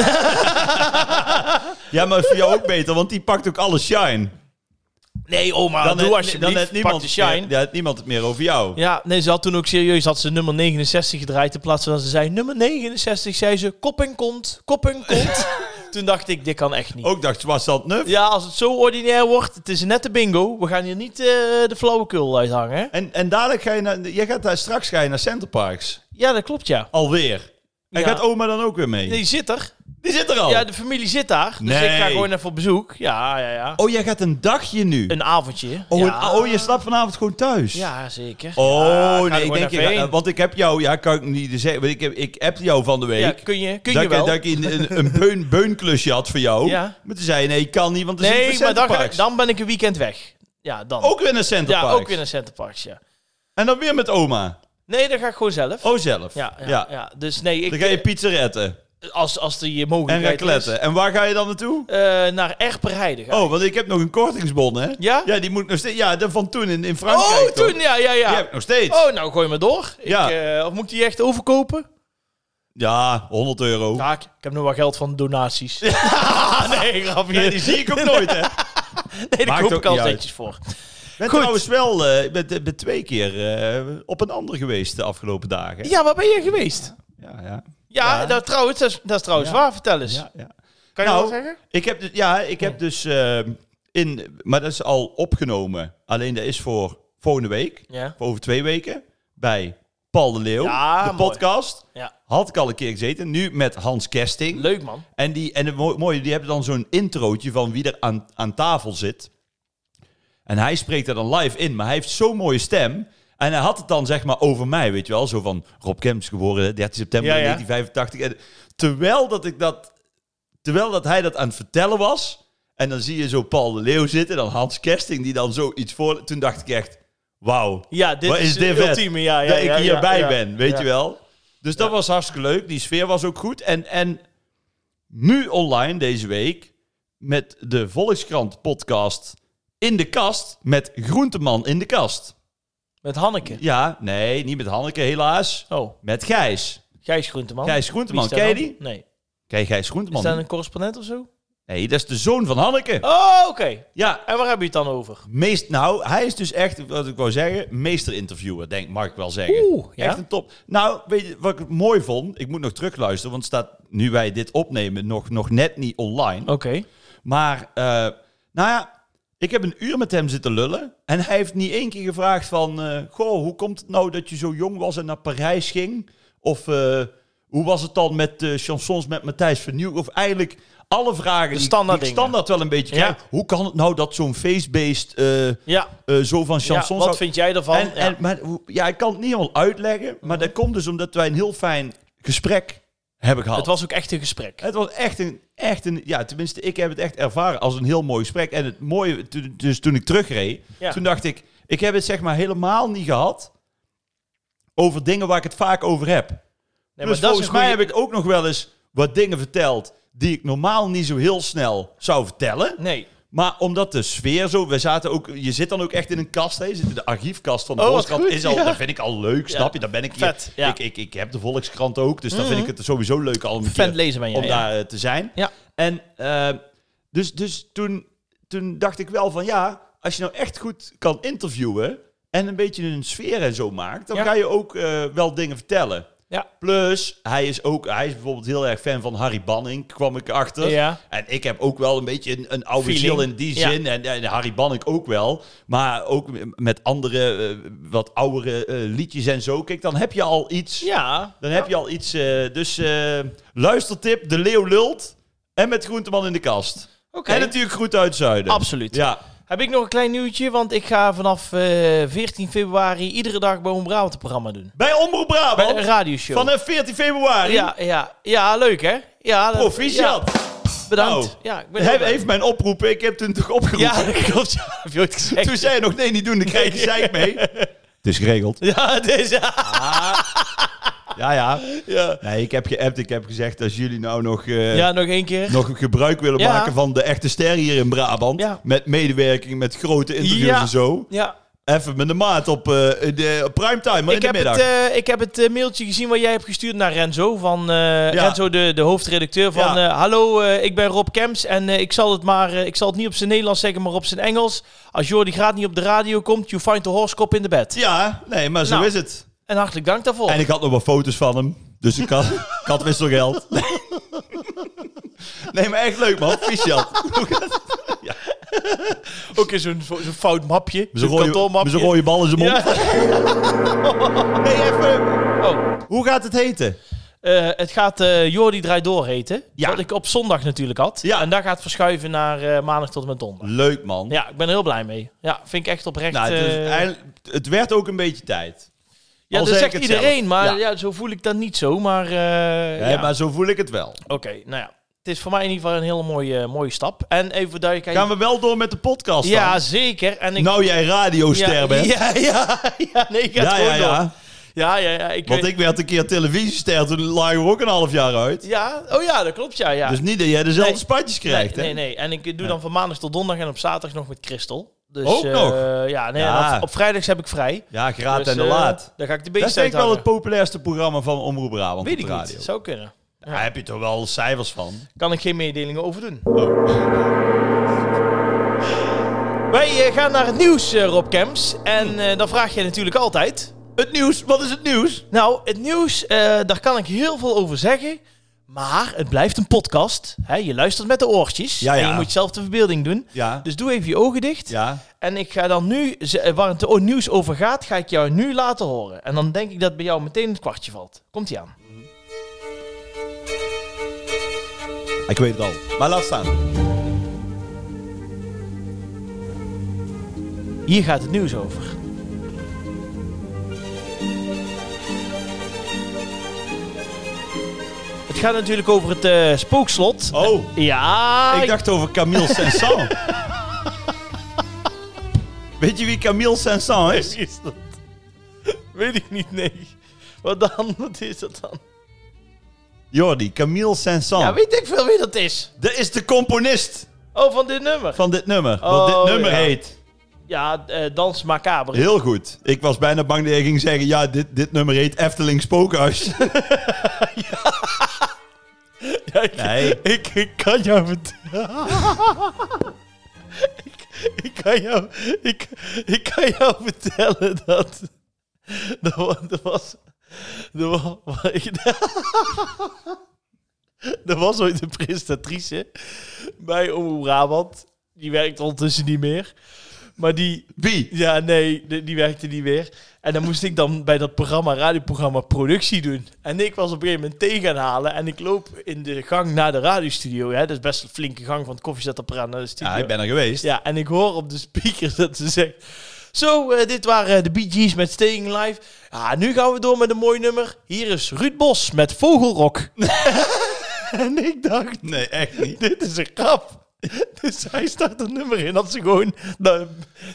Speaker 2: ja, maar voor jou ook beter, want die pakt ook alle shine.
Speaker 1: Nee, oma, Ah, doe alsjeblieft. Dan niemand,
Speaker 2: heeft niemand,
Speaker 1: pak de shine.
Speaker 2: Ja, dan heeft niemand het meer over jou.
Speaker 1: Ja, nee, ze had toen ook serieus had ze nummer 69 gedraaid. In plaats van dat ze zei nummer 69, zei ze kop en kont, kop en kont. toen dacht ik, dit kan echt niet.
Speaker 2: Ook dacht Swassand Nuf.
Speaker 1: Ja, als het zo ordinair wordt, het is net de bingo. We gaan hier niet eh, de flauwekul uithangen. hè?
Speaker 2: En, en dadelijk ga je naar... Jij gaat daar straks ga je naar Centerparks.
Speaker 1: Ja, dat klopt, ja.
Speaker 2: Alweer. En
Speaker 1: Ja.
Speaker 2: gaat oma dan ook weer mee?
Speaker 1: Die zit er.
Speaker 2: Die zit er al.
Speaker 1: Ja, de familie zit daar. Dus
Speaker 2: Oh. Nee.
Speaker 1: ik ga gewoon even op bezoek. Ja, ja, ja.
Speaker 2: Oh, jij gaat een dagje nu.
Speaker 1: Een avondje.
Speaker 2: Oh,
Speaker 1: ja.
Speaker 2: een- oh, je slaapt vanavond gewoon thuis.
Speaker 1: Ja, zeker.
Speaker 2: Oh,
Speaker 1: Ja, ga er
Speaker 2: nee, ik
Speaker 1: gewoon
Speaker 2: denk,
Speaker 1: even
Speaker 2: ik-
Speaker 1: heen.
Speaker 2: want ik heb jou, ja, kan ik niet zeggen, want ik, heb, ik appte jou van de week.
Speaker 1: Ja, kun je, kun
Speaker 2: dat,
Speaker 1: je
Speaker 2: ik,
Speaker 1: wel.
Speaker 2: dat ik een, een, een beun, beunklusje had voor jou.
Speaker 1: Ja.
Speaker 2: Maar toen zei je, nee, ik kan niet, want er
Speaker 1: nee,
Speaker 2: zit
Speaker 1: maar dan, ga ik-
Speaker 2: Parks.
Speaker 1: dan ben ik een weekend weg. Ja, dan.
Speaker 2: Ook weer naar Center
Speaker 1: ja,
Speaker 2: Parks.
Speaker 1: ook weer naar Centerparks, ja.
Speaker 2: En dan weer met oma.
Speaker 1: Nee, dan ga ik gewoon zelf.
Speaker 2: Oh, zelf.
Speaker 1: ja, ja, ja. Dus nee,
Speaker 2: Dan
Speaker 1: ik,
Speaker 2: ga je pizzeretten
Speaker 1: als, als die
Speaker 2: en
Speaker 1: mogelijkheid is.
Speaker 2: racletten. En waar ga je dan naartoe?
Speaker 1: Eh, naar Erperheide gaan.
Speaker 2: Oh, want ik heb nog een kortingsbon, hè?
Speaker 1: Ja?
Speaker 2: Ja, die moet ik nog steeds... Ja, de van toen in, in
Speaker 1: Oh,
Speaker 2: Frankrijk, toch?
Speaker 1: toen, ja, ja, ja.
Speaker 2: Die heb ik nog steeds.
Speaker 1: Oh, nou gooi maar door.
Speaker 2: Ja.
Speaker 1: Ik, eh, of moet ik die echt overkopen?
Speaker 2: Ja, 100 euro.
Speaker 1: Ja, ik, ik heb nog wel geld van donaties. nee, grapje.
Speaker 2: Nee, die zie ik ook nooit, hè?
Speaker 1: Nee, daar
Speaker 2: Maakt
Speaker 1: koop
Speaker 2: ook
Speaker 1: ik al
Speaker 2: niet uit.
Speaker 1: netjes voor.
Speaker 2: Ik ben
Speaker 1: Goed.
Speaker 2: trouwens wel eh, ik ben ik ben twee keer eh, op een ander geweest de afgelopen dagen.
Speaker 1: Ja, waar ben je geweest?
Speaker 2: ja. ja.
Speaker 1: Ja,
Speaker 2: Ja.
Speaker 1: Dat, trouwens, dat, is, dat is trouwens
Speaker 2: Ja.
Speaker 1: waar. Vertel eens.
Speaker 2: ja, ja.
Speaker 1: Kan je
Speaker 2: Nou,
Speaker 1: dat zeggen?
Speaker 2: Ik heb dus, ja, ik
Speaker 1: Oh.
Speaker 2: heb dus eh, in, maar dat is al opgenomen. Alleen dat is voor volgende week,
Speaker 1: Ja.
Speaker 2: voor over twee weken, bij Paul de Leeuw,
Speaker 1: Ja,
Speaker 2: de
Speaker 1: mooi.
Speaker 2: podcast.
Speaker 1: ja.
Speaker 2: Had ik al een keer gezeten, nu met Hans Kesting.
Speaker 1: Leuk, man.
Speaker 2: En, die, en het mo- mooie, die hebben dan zo'n introotje van wie er aan, aan tafel zit. En hij spreekt er dan live in, maar hij heeft zo'n mooie stem. En hij had het dan zeg maar over mij, weet je wel. Zo van, Rob Kemps geboren 13 september
Speaker 1: Ja, ja.
Speaker 2: 1985. En terwijl dat ik dat, terwijl dat hij dat aan het vertellen was... En dan zie je zo Paul de Leeuw zitten, dan Hans Kersting die dan zoiets voor... Toen dacht ik echt, wauw,
Speaker 1: Ja, dit
Speaker 2: Wat
Speaker 1: is
Speaker 2: is dit
Speaker 1: het
Speaker 2: vet?
Speaker 1: ultieme. Ja, ja,
Speaker 2: dat
Speaker 1: ja,
Speaker 2: ik hierbij
Speaker 1: ja, ja.
Speaker 2: ben, weet
Speaker 1: Ja.
Speaker 2: je wel. Dus dat was hartstikke leuk. Die sfeer was ook goed. En, en nu online deze week met de Volkskrant podcast in de kast met Groenteman in de kast.
Speaker 1: Met Hanneke.
Speaker 2: Ja, nee, niet met Hanneke helaas.
Speaker 1: Oh,
Speaker 2: Met Gijs.
Speaker 1: Gijs Groenteman.
Speaker 2: Gijs
Speaker 1: Wie
Speaker 2: Groenteman,
Speaker 1: is dat
Speaker 2: ken je
Speaker 1: dan?
Speaker 2: die?
Speaker 1: Nee.
Speaker 2: Ken je Gijs
Speaker 1: Is dat
Speaker 2: Groenteman?
Speaker 1: een correspondent of zo?
Speaker 2: Nee, dat is de zoon van Hanneke.
Speaker 1: Oh, oké.
Speaker 2: Ja,
Speaker 1: En waar heb je het dan over?
Speaker 2: meest, nou, hij is dus echt, wat ik wou zeggen, meesterinterviewer, denk, mag ik wel zeggen.
Speaker 1: Oeh, ja.
Speaker 2: Echt een top. Nou, weet je wat ik het mooi vond? Ik moet nog terugluisteren, want het staat nu wij dit opnemen nog, nog net niet online.
Speaker 1: Oké.
Speaker 2: Maar, eh, nou ja, ik heb een uur met hem zitten lullen. En hij heeft niet één keer gevraagd van... eh, goh, hoe komt het nou dat je zo jong was en naar Parijs ging? Of eh, hoe was het dan met eh, chansons met Matthijs van Nieuw? Of eigenlijk alle vragen die,
Speaker 1: standaard
Speaker 2: die ik
Speaker 1: dingen.
Speaker 2: standaard wel een beetje
Speaker 1: Ja.
Speaker 2: krijg. Hoe kan het nou dat zo'n feestbeest eh, eh,
Speaker 1: Ja.
Speaker 2: zo van
Speaker 1: ja.
Speaker 2: chansons...
Speaker 1: Wat
Speaker 2: houdt?
Speaker 1: vind jij ervan?
Speaker 2: En,
Speaker 1: Ja. Mhm.
Speaker 2: en, maar, hoe- ja, ik kan het niet helemaal uitleggen. Maar dat komt dus omdat wij een heel fijn gesprek hebben gehad.
Speaker 1: Het was ook echt een gesprek.
Speaker 2: Het was echt een, echt een, ja, tenminste, ik heb het echt ervaren als een heel mooi gesprek. En het mooie, toen- dus toen ik terugreed,
Speaker 1: Ja.
Speaker 2: toen dacht ik, ik heb het zeg maar helemaal niet gehad over dingen waar ik het vaak over heb.
Speaker 1: Nee,
Speaker 2: dus volgens mij heb ik ook nog wel eens wat dingen verteld die ik normaal niet zo heel snel zou vertellen.
Speaker 1: Nee.
Speaker 2: Maar omdat de sfeer zo, we zaten ook, je zit dan ook echt in een kast, hè? je zit in de archiefkast van de
Speaker 1: Oh, wat
Speaker 2: Volkskrant.
Speaker 1: goed,
Speaker 2: Is al,
Speaker 1: ja.
Speaker 2: Dat vind ik al leuk, snap je? Dan ben ik hier.
Speaker 1: Vet, ja. Mhm.
Speaker 2: ik, ik, ik heb de Volkskrant ook, dus dan vind ik het sowieso leuk al een keer
Speaker 1: Fan lezen ben jij,
Speaker 2: om
Speaker 1: ja.
Speaker 2: daar eh, te zijn.
Speaker 1: Ja.
Speaker 2: En eh, dus, dus toen, toen dacht ik wel van ja, als je nou echt goed kan interviewen en een beetje een sfeer en zo maakt, dan
Speaker 1: Ja.
Speaker 2: ga je ook eh, wel dingen vertellen.
Speaker 1: Ja.
Speaker 2: Plus, hij is ook, hij is bijvoorbeeld heel erg fan van Harry Banning, kwam ik achter.
Speaker 1: Ja.
Speaker 2: En ik heb ook wel een beetje een, een oude
Speaker 1: Feeling.
Speaker 2: ziel in die
Speaker 1: Ja.
Speaker 2: zin. En, en Harry Banning ook wel. Maar ook met andere, eh, wat oudere eh, liedjes en zo. Kijk, dan heb je al iets.
Speaker 1: Ja.
Speaker 2: Dan heb je al iets. eh, dus eh, luistertip, de leeuw lult. En met Groenteman in de kast.
Speaker 1: Oké.
Speaker 2: En natuurlijk Groet uit Zuiden.
Speaker 1: Absoluut.
Speaker 2: Ja.
Speaker 1: Heb ik nog een klein nieuwtje, want ik ga vanaf eh, 14 februari iedere dag bij Brabant een programma doen.
Speaker 2: Bij Omroep
Speaker 1: Bij een
Speaker 2: Brabant.
Speaker 1: radioshow.
Speaker 2: Vanaf 14 februari.
Speaker 1: ja, ja, ja, leuk hè? Ja, dat-
Speaker 2: Proficiat.
Speaker 1: ja, bedankt.
Speaker 2: Nou,
Speaker 1: ja, ik ben heel
Speaker 2: Hij
Speaker 1: blij.
Speaker 2: heeft mijn oproep. Ik heb toen toch opgeroepen.
Speaker 1: Ja, dat klopt. Ja, heb je ooit gezegd.
Speaker 2: Toen zei je nog nee, niet doen. Dan krijg je zeik mee. Het is geregeld.
Speaker 1: Ja, deze.
Speaker 2: Ja, ja.
Speaker 1: Ja.
Speaker 2: Nee, ik heb geappt. Ik heb gezegd, als jullie nou nog, eh,
Speaker 1: ja, nog één keer.
Speaker 2: nog gebruik willen
Speaker 1: Ja.
Speaker 2: maken van de echte ster hier in Brabant.
Speaker 1: Ja.
Speaker 2: Met medewerking, met grote interviews
Speaker 1: Ja.
Speaker 2: en zo.
Speaker 1: Ja,
Speaker 2: Even met de maat op eh, de op primetime, maar in
Speaker 1: ik
Speaker 2: de
Speaker 1: heb,
Speaker 2: middag.
Speaker 1: het, eh, ik heb het eh, mailtje gezien wat jij hebt gestuurd naar Renzo. Van, eh, Renzo, de, de hoofdredacteur. Van
Speaker 2: Ja.
Speaker 1: eh, Hallo, eh, ik ben Rob Kemps. En eh, ik, zal het maar, eh, ik zal het niet op zijn Nederlands zeggen, maar op zijn Engels. Als Jordi Graat niet op de radio komt, you find the horsekop in the bed.
Speaker 2: Ja, nee, maar zo
Speaker 1: Nou.
Speaker 2: is het.
Speaker 1: En hartelijk dank daarvoor.
Speaker 2: En ik had nog wat foto's van hem. Dus ik had, ik had wisselgeld. Nee, maar echt leuk, man. Proficiat.
Speaker 1: Ook in zo'n zo'n fout mapje.
Speaker 2: Met zo'n rode, met zo'n rode bal in zijn
Speaker 1: Ja.
Speaker 2: mond. Nee, even.
Speaker 1: Oh.
Speaker 2: Hoe gaat het heten?
Speaker 1: eh, het gaat eh Jordi Draai Door heten.
Speaker 2: Ja.
Speaker 1: Wat ik op zondag natuurlijk had.
Speaker 2: Ja.
Speaker 1: En daar gaat verschuiven naar eh, maandag tot en met donderdag.
Speaker 2: Leuk, man.
Speaker 1: Ja, ik ben er heel blij mee. Ja, vind ik echt oprecht.
Speaker 2: nou, het, is
Speaker 1: eh,
Speaker 2: eigenlijk- het werd ook een beetje tijd.
Speaker 1: ja,
Speaker 2: al
Speaker 1: dat
Speaker 2: zeg
Speaker 1: zegt
Speaker 2: ik het
Speaker 1: iedereen,
Speaker 2: zelf.
Speaker 1: maar
Speaker 2: Ja.
Speaker 1: ja. zo voel ik dat niet zo. Maar, eh,
Speaker 2: Hè,
Speaker 1: ja.
Speaker 2: Maar zo voel ik het wel.
Speaker 1: oké, nou ja. Het is voor mij in ieder geval een hele mooie, eh, mooie stap. En even voor duidelijkheid.
Speaker 2: Gaan we wel door met de podcast dan?
Speaker 1: ja, zeker. En ik,
Speaker 2: Nou jij radioster
Speaker 1: ja,
Speaker 2: bent.
Speaker 1: Ja, ja, ja, nee, ik ga het
Speaker 2: ja,
Speaker 1: gewoon
Speaker 2: ja,
Speaker 1: door.
Speaker 2: ja.
Speaker 1: Ja, ja, ja. Ik
Speaker 2: Want
Speaker 1: weet-
Speaker 2: ik werd een keer televisiester, toen lagen we ook een half jaar uit.
Speaker 1: Ja, oh ja, dat klopt, ja. ja.
Speaker 2: Dus niet dat jij dezelfde
Speaker 1: Nee.
Speaker 2: spatjes krijgt,
Speaker 1: nee,
Speaker 2: hè?
Speaker 1: nee, nee. En ik doe dan van maandag tot donderdag en op zaterdag nog met Christel. Dus,
Speaker 2: Ook
Speaker 1: eh,
Speaker 2: nog?
Speaker 1: Ja, nee,
Speaker 2: Ja.
Speaker 1: en Op, op vrijdags heb ik vrij.
Speaker 2: Ja, graat
Speaker 1: Dus,
Speaker 2: en de
Speaker 1: eh,
Speaker 2: laat.
Speaker 1: Daar ga ik de
Speaker 2: Dat is
Speaker 1: beest
Speaker 2: denk
Speaker 1: uit
Speaker 2: ik wel het populairste programma van Omroep Brabant
Speaker 1: Weet
Speaker 2: op
Speaker 1: ik
Speaker 2: de radio.
Speaker 1: niet. Zou kunnen.
Speaker 2: Daar heb je toch wel cijfers van?
Speaker 1: Kan ik geen mededelingen over doen.
Speaker 2: Oh.
Speaker 1: Wij eh, gaan naar het nieuws, eh, Rob Kems. En eh, dan vraag je natuurlijk altijd.
Speaker 2: Het nieuws, wat is het nieuws?
Speaker 1: Nou, het nieuws, eh, daar kan ik heel veel over zeggen. Maar het blijft een podcast. Hè, je luistert met de oortjes.
Speaker 2: Ja,
Speaker 1: En
Speaker 2: ja.
Speaker 1: je moet zelf de verbeelding doen.
Speaker 2: Ja,
Speaker 1: Dus doe even je ogen dicht.
Speaker 2: ja.
Speaker 1: En ik ga dan nu, ze- eh, waar het o- nieuws over gaat, ga ik jou nu laten horen. En dan denk ik dat bij jou meteen het kwartje valt. Komt-ie aan.
Speaker 2: Ik weet het al. Maar laat staan.
Speaker 1: Hier gaat het nieuws over. Het gaat natuurlijk over het eh, spookslot.
Speaker 2: Oh,
Speaker 1: Ja,
Speaker 2: ik
Speaker 1: ik-
Speaker 2: dacht over Camille Saint-Saëns. Weet je wie Camille Saint-Saëns is?
Speaker 1: is dat? Weet ik niet, nee. Wat dan? Wat is dat dan?
Speaker 2: Jordi, Camille Saint-Saëns.
Speaker 1: Ja, weet ik veel wie dat is.
Speaker 2: Dat is de componist
Speaker 1: Oh, van dit nummer.
Speaker 2: van dit nummer. Wat
Speaker 1: Oh,
Speaker 2: dit nummer
Speaker 1: ja.
Speaker 2: heet.
Speaker 1: Ja, eh, Dans Macabre.
Speaker 2: Heel goed. Ik was bijna bang dat jij ging zeggen... Ja, dit, dit nummer heet Efteling Spookhuis.
Speaker 1: Ja, ik,
Speaker 2: Nee.
Speaker 1: ik, ik kan jou vertellen. ik, ik, kan jou, ik, ik kan jou vertellen dat. Dat was. Dat was, dat wa- wa- ik- er was ooit een presentatrice bij Omroep Brabant. Die werkt ondertussen niet meer. Maar die,
Speaker 2: Wie?
Speaker 1: ja, nee, die, die werkte niet meer. En dan moest ik dan bij dat programma, radioprogramma, productie doen. En ik was op een gegeven moment thee gaan halen. En ik loop in de gang naar de radiostudio. Hè? Dat is best een flinke gang van het koffiezetapparaat naar de studio.
Speaker 2: Ja, ik ben er geweest.
Speaker 1: Ja, en ik hoor op de speakers dat ze zegt... Zo, eh, dit waren de Bee Gees met Staying Live. Ja, nu gaan we door met een mooi nummer. Hier is Ruud Bos met Vogelrok. en ik dacht,
Speaker 2: Nee, echt niet.
Speaker 1: dit is een grap. Dus hij start een nummer in dat ze gewoon dat,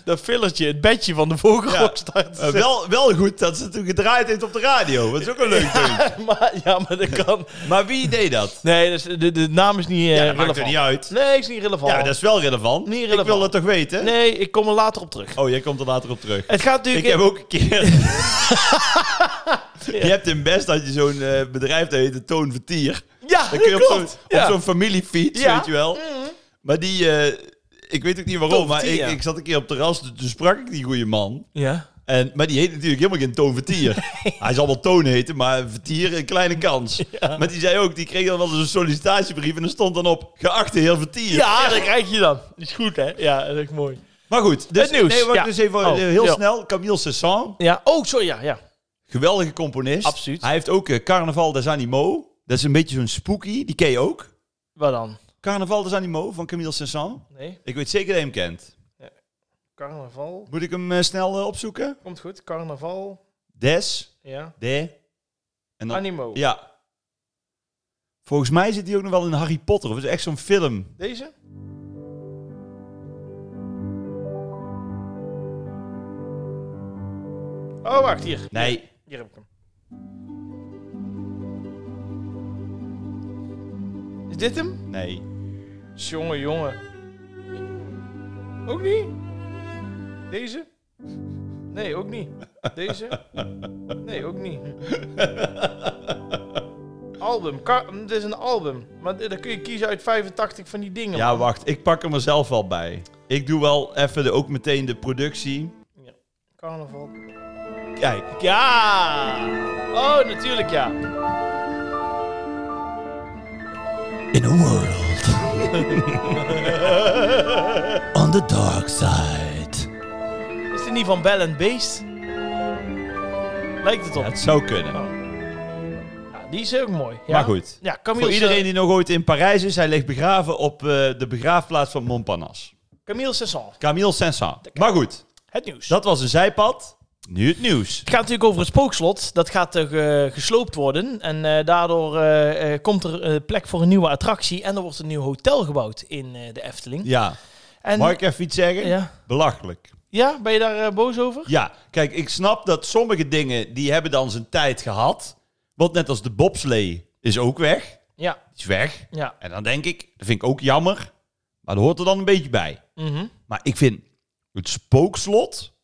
Speaker 1: dat fillertje, het bedje van de vogelrok start.
Speaker 2: Eh, wel, wel goed dat ze het toen gedraaid heeft op de radio. Dat is ook een leuk ding.
Speaker 1: maar, ja, maar dat kan.
Speaker 2: Maar wie deed dat?
Speaker 1: Nee, dus de, de naam is niet eh,
Speaker 2: Ja, dat maakt
Speaker 1: relevant.
Speaker 2: er niet uit.
Speaker 1: Nee, is niet relevant.
Speaker 2: Ja, dat is wel relevant.
Speaker 1: Niet
Speaker 2: Ik wil
Speaker 1: relevant.
Speaker 2: dat toch weten?
Speaker 1: Nee, ik kom er later op terug.
Speaker 2: Oh, jij komt er later op terug.
Speaker 1: Het gaat
Speaker 2: Ik
Speaker 1: natuurlijk...
Speaker 2: heb ook een keer... Je hebt in Best dat je zo'n eh, bedrijf, dat heet de Toon Vertier.
Speaker 1: Ja,
Speaker 2: Dan kun je
Speaker 1: dat
Speaker 2: op zo'n
Speaker 1: klopt. Ja.
Speaker 2: op zo'n familiefiets,
Speaker 1: Ja. Mhm.
Speaker 2: weet je wel. Maar die... eh, ik weet ook niet waarom,
Speaker 1: Toon
Speaker 2: maar
Speaker 1: Vertier, ja.
Speaker 2: ik, ik zat een keer op het terras, dus toen sprak ik die goede man.
Speaker 1: ja.
Speaker 2: En, maar die heet natuurlijk helemaal geen Toon Vertier. Hij zal wel Toon heten, maar Vertier, een kleine kans. Maar die zei ook, die kreeg dan wel eens een sollicitatiebrief en er stond dan op, geachte heer Vertier.
Speaker 1: Ja, dat krijg je dan. Is goed, hè? Ja, dat is mooi.
Speaker 2: Maar goed, dus,
Speaker 1: Het nieuws,
Speaker 2: Nee, wacht,
Speaker 1: ja.
Speaker 2: dus even
Speaker 1: Oh,
Speaker 2: heel
Speaker 1: ja.
Speaker 2: snel. Camille Saint-Saëns,
Speaker 1: Ja, oh, sorry, ja, ja.
Speaker 2: geweldige componist.
Speaker 1: Absoluut.
Speaker 2: Hij heeft ook eh, Carnaval des Animaux. Dat is een beetje zo'n spooky, die ken je ook.
Speaker 1: Wat dan?
Speaker 2: Carnaval des Animaux van Camille Saint-Saëns.
Speaker 1: Nee,
Speaker 2: Ik weet zeker dat je hem kent.
Speaker 1: carnaval.
Speaker 2: Moet ik hem eh, snel eh, opzoeken?
Speaker 1: Komt goed, carnaval.
Speaker 2: Des,
Speaker 1: Ja.
Speaker 2: de... En dan,
Speaker 1: Animo.
Speaker 2: Oh. ja. Volgens mij zit hij ook nog wel in Harry Potter. Of is het echt zo'n film?
Speaker 1: Deze? Oh, wacht, hier.
Speaker 2: Nee.
Speaker 1: Hier heb ik hem. Is dit hem?
Speaker 2: Nee.
Speaker 1: Jongen, jongen. Ook niet? Deze? Nee, ook niet. Deze? Nee, ook niet. Album. Ka- Dit is een album. Maar d- dan kun je kiezen uit 85 van die dingen.
Speaker 2: Ja,
Speaker 1: man.
Speaker 2: wacht. Ik pak er mezelf wel bij. Ik doe wel even de, ook meteen de productie.
Speaker 1: Ja. Carnaval.
Speaker 2: Kijk.
Speaker 1: Ja! Oh, natuurlijk ja.
Speaker 4: in a world on the dark side.
Speaker 1: Is dit niet van Bell and Beast? Lijkt het op.
Speaker 2: Het zou kunnen.
Speaker 1: Ja, die is ook mooi. Ja.
Speaker 2: Maar goed.
Speaker 1: Ja, Camille, eh,
Speaker 2: Voor iedereen die nog ooit in Parijs is, hij ligt begraven op eh, de begraafplaats van Montparnasse.
Speaker 1: Camille Cesson,
Speaker 2: Camille Saint-Saëns. Maar goed,
Speaker 1: het nieuws.
Speaker 2: dat was een zijpad. Nu het nieuws.
Speaker 1: Het gaat natuurlijk over het spookslot. Dat gaat eh, ge- gesloopt worden. En eh, daardoor eh, eh, komt er eh, plek voor een nieuwe attractie. En er wordt een nieuw hotel gebouwd in eh, de Efteling.
Speaker 2: Ja,
Speaker 1: En,
Speaker 2: mag ik even iets zeggen?
Speaker 1: ja.
Speaker 2: Belachelijk.
Speaker 1: ja, ben je daar eh, boos over?
Speaker 2: Ja, kijk, ik snap dat sommige dingen, die hebben dan zijn tijd gehad. Want net als de bobslee is ook weg.
Speaker 1: Ja.
Speaker 2: Die is weg.
Speaker 1: ja.
Speaker 2: En dan denk ik, dat vind ik ook jammer. Maar dat hoort er dan een beetje bij.
Speaker 1: Mhm.
Speaker 2: Maar ik vind het spookslot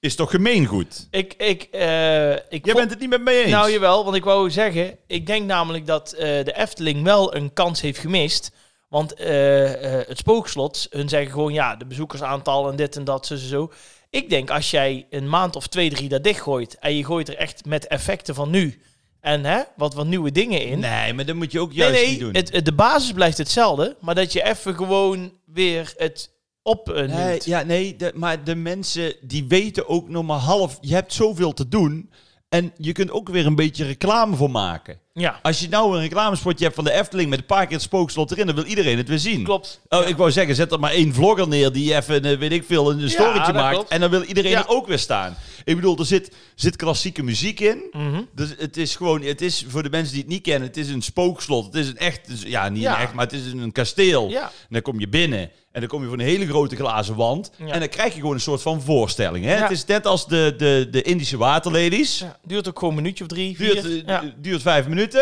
Speaker 2: is toch gemeengoed?
Speaker 1: Ik, ik, eh, ik
Speaker 2: Jij
Speaker 1: vond-
Speaker 2: bent het niet met mij eens.
Speaker 1: Nou, jawel, want ik wou zeggen... Ik denk namelijk dat eh, de Efteling wel een kans heeft gemist. Want eh, eh, het spookslot, hun zeggen gewoon... Ja, de bezoekersaantal en dit en dat, zo, zo, zo. Ik denk, als jij een maand of twee, drie daar dichtgooit... en je gooit er echt met effecten van nu... en hè, wat, wat nieuwe dingen in...
Speaker 2: Nee, maar dat moet je ook juist
Speaker 1: nee, nee,
Speaker 2: niet doen.
Speaker 1: het- het- de basis blijft hetzelfde... maar dat je even gewoon weer het op een
Speaker 2: Nee, ja, nee, de- maar de mensen die weten ook nog maar half... Je hebt zoveel te doen en je kunt ook weer een beetje reclame voor maken.
Speaker 1: ja,
Speaker 2: Als je nou een reclamespotje hebt van de Efteling met een paar keer het spookslot erin, dan wil iedereen het weer zien.
Speaker 1: klopt.
Speaker 2: Oh, ik wou zeggen, zet er maar één vlogger neer die even, eh, weet ik veel, een storytje
Speaker 1: dat
Speaker 2: maakt.
Speaker 1: klopt.
Speaker 2: En dan wil iedereen
Speaker 1: Ja.
Speaker 2: er ook weer staan. Ik bedoel, er zit, zit klassieke muziek in.
Speaker 1: Mhm.
Speaker 2: Dus het is gewoon, het is voor de mensen die het niet kennen, het is een spookslot. Het is een echt, dus- ja, niet
Speaker 1: Ja.
Speaker 2: een echt, maar het is een kasteel.
Speaker 1: Ja.
Speaker 2: En dan kom je binnen en dan kom je voor een hele grote glazen wand.
Speaker 1: Ja.
Speaker 2: En dan krijg je gewoon een soort van voorstelling. Hè?
Speaker 1: Ja.
Speaker 2: Het is net als de, de, de Indische waterladies.
Speaker 1: Ja, duurt ook gewoon een minuutje of drie, vier.
Speaker 2: Duurt, eh,
Speaker 1: ja.
Speaker 2: du- duurt vijf minuten.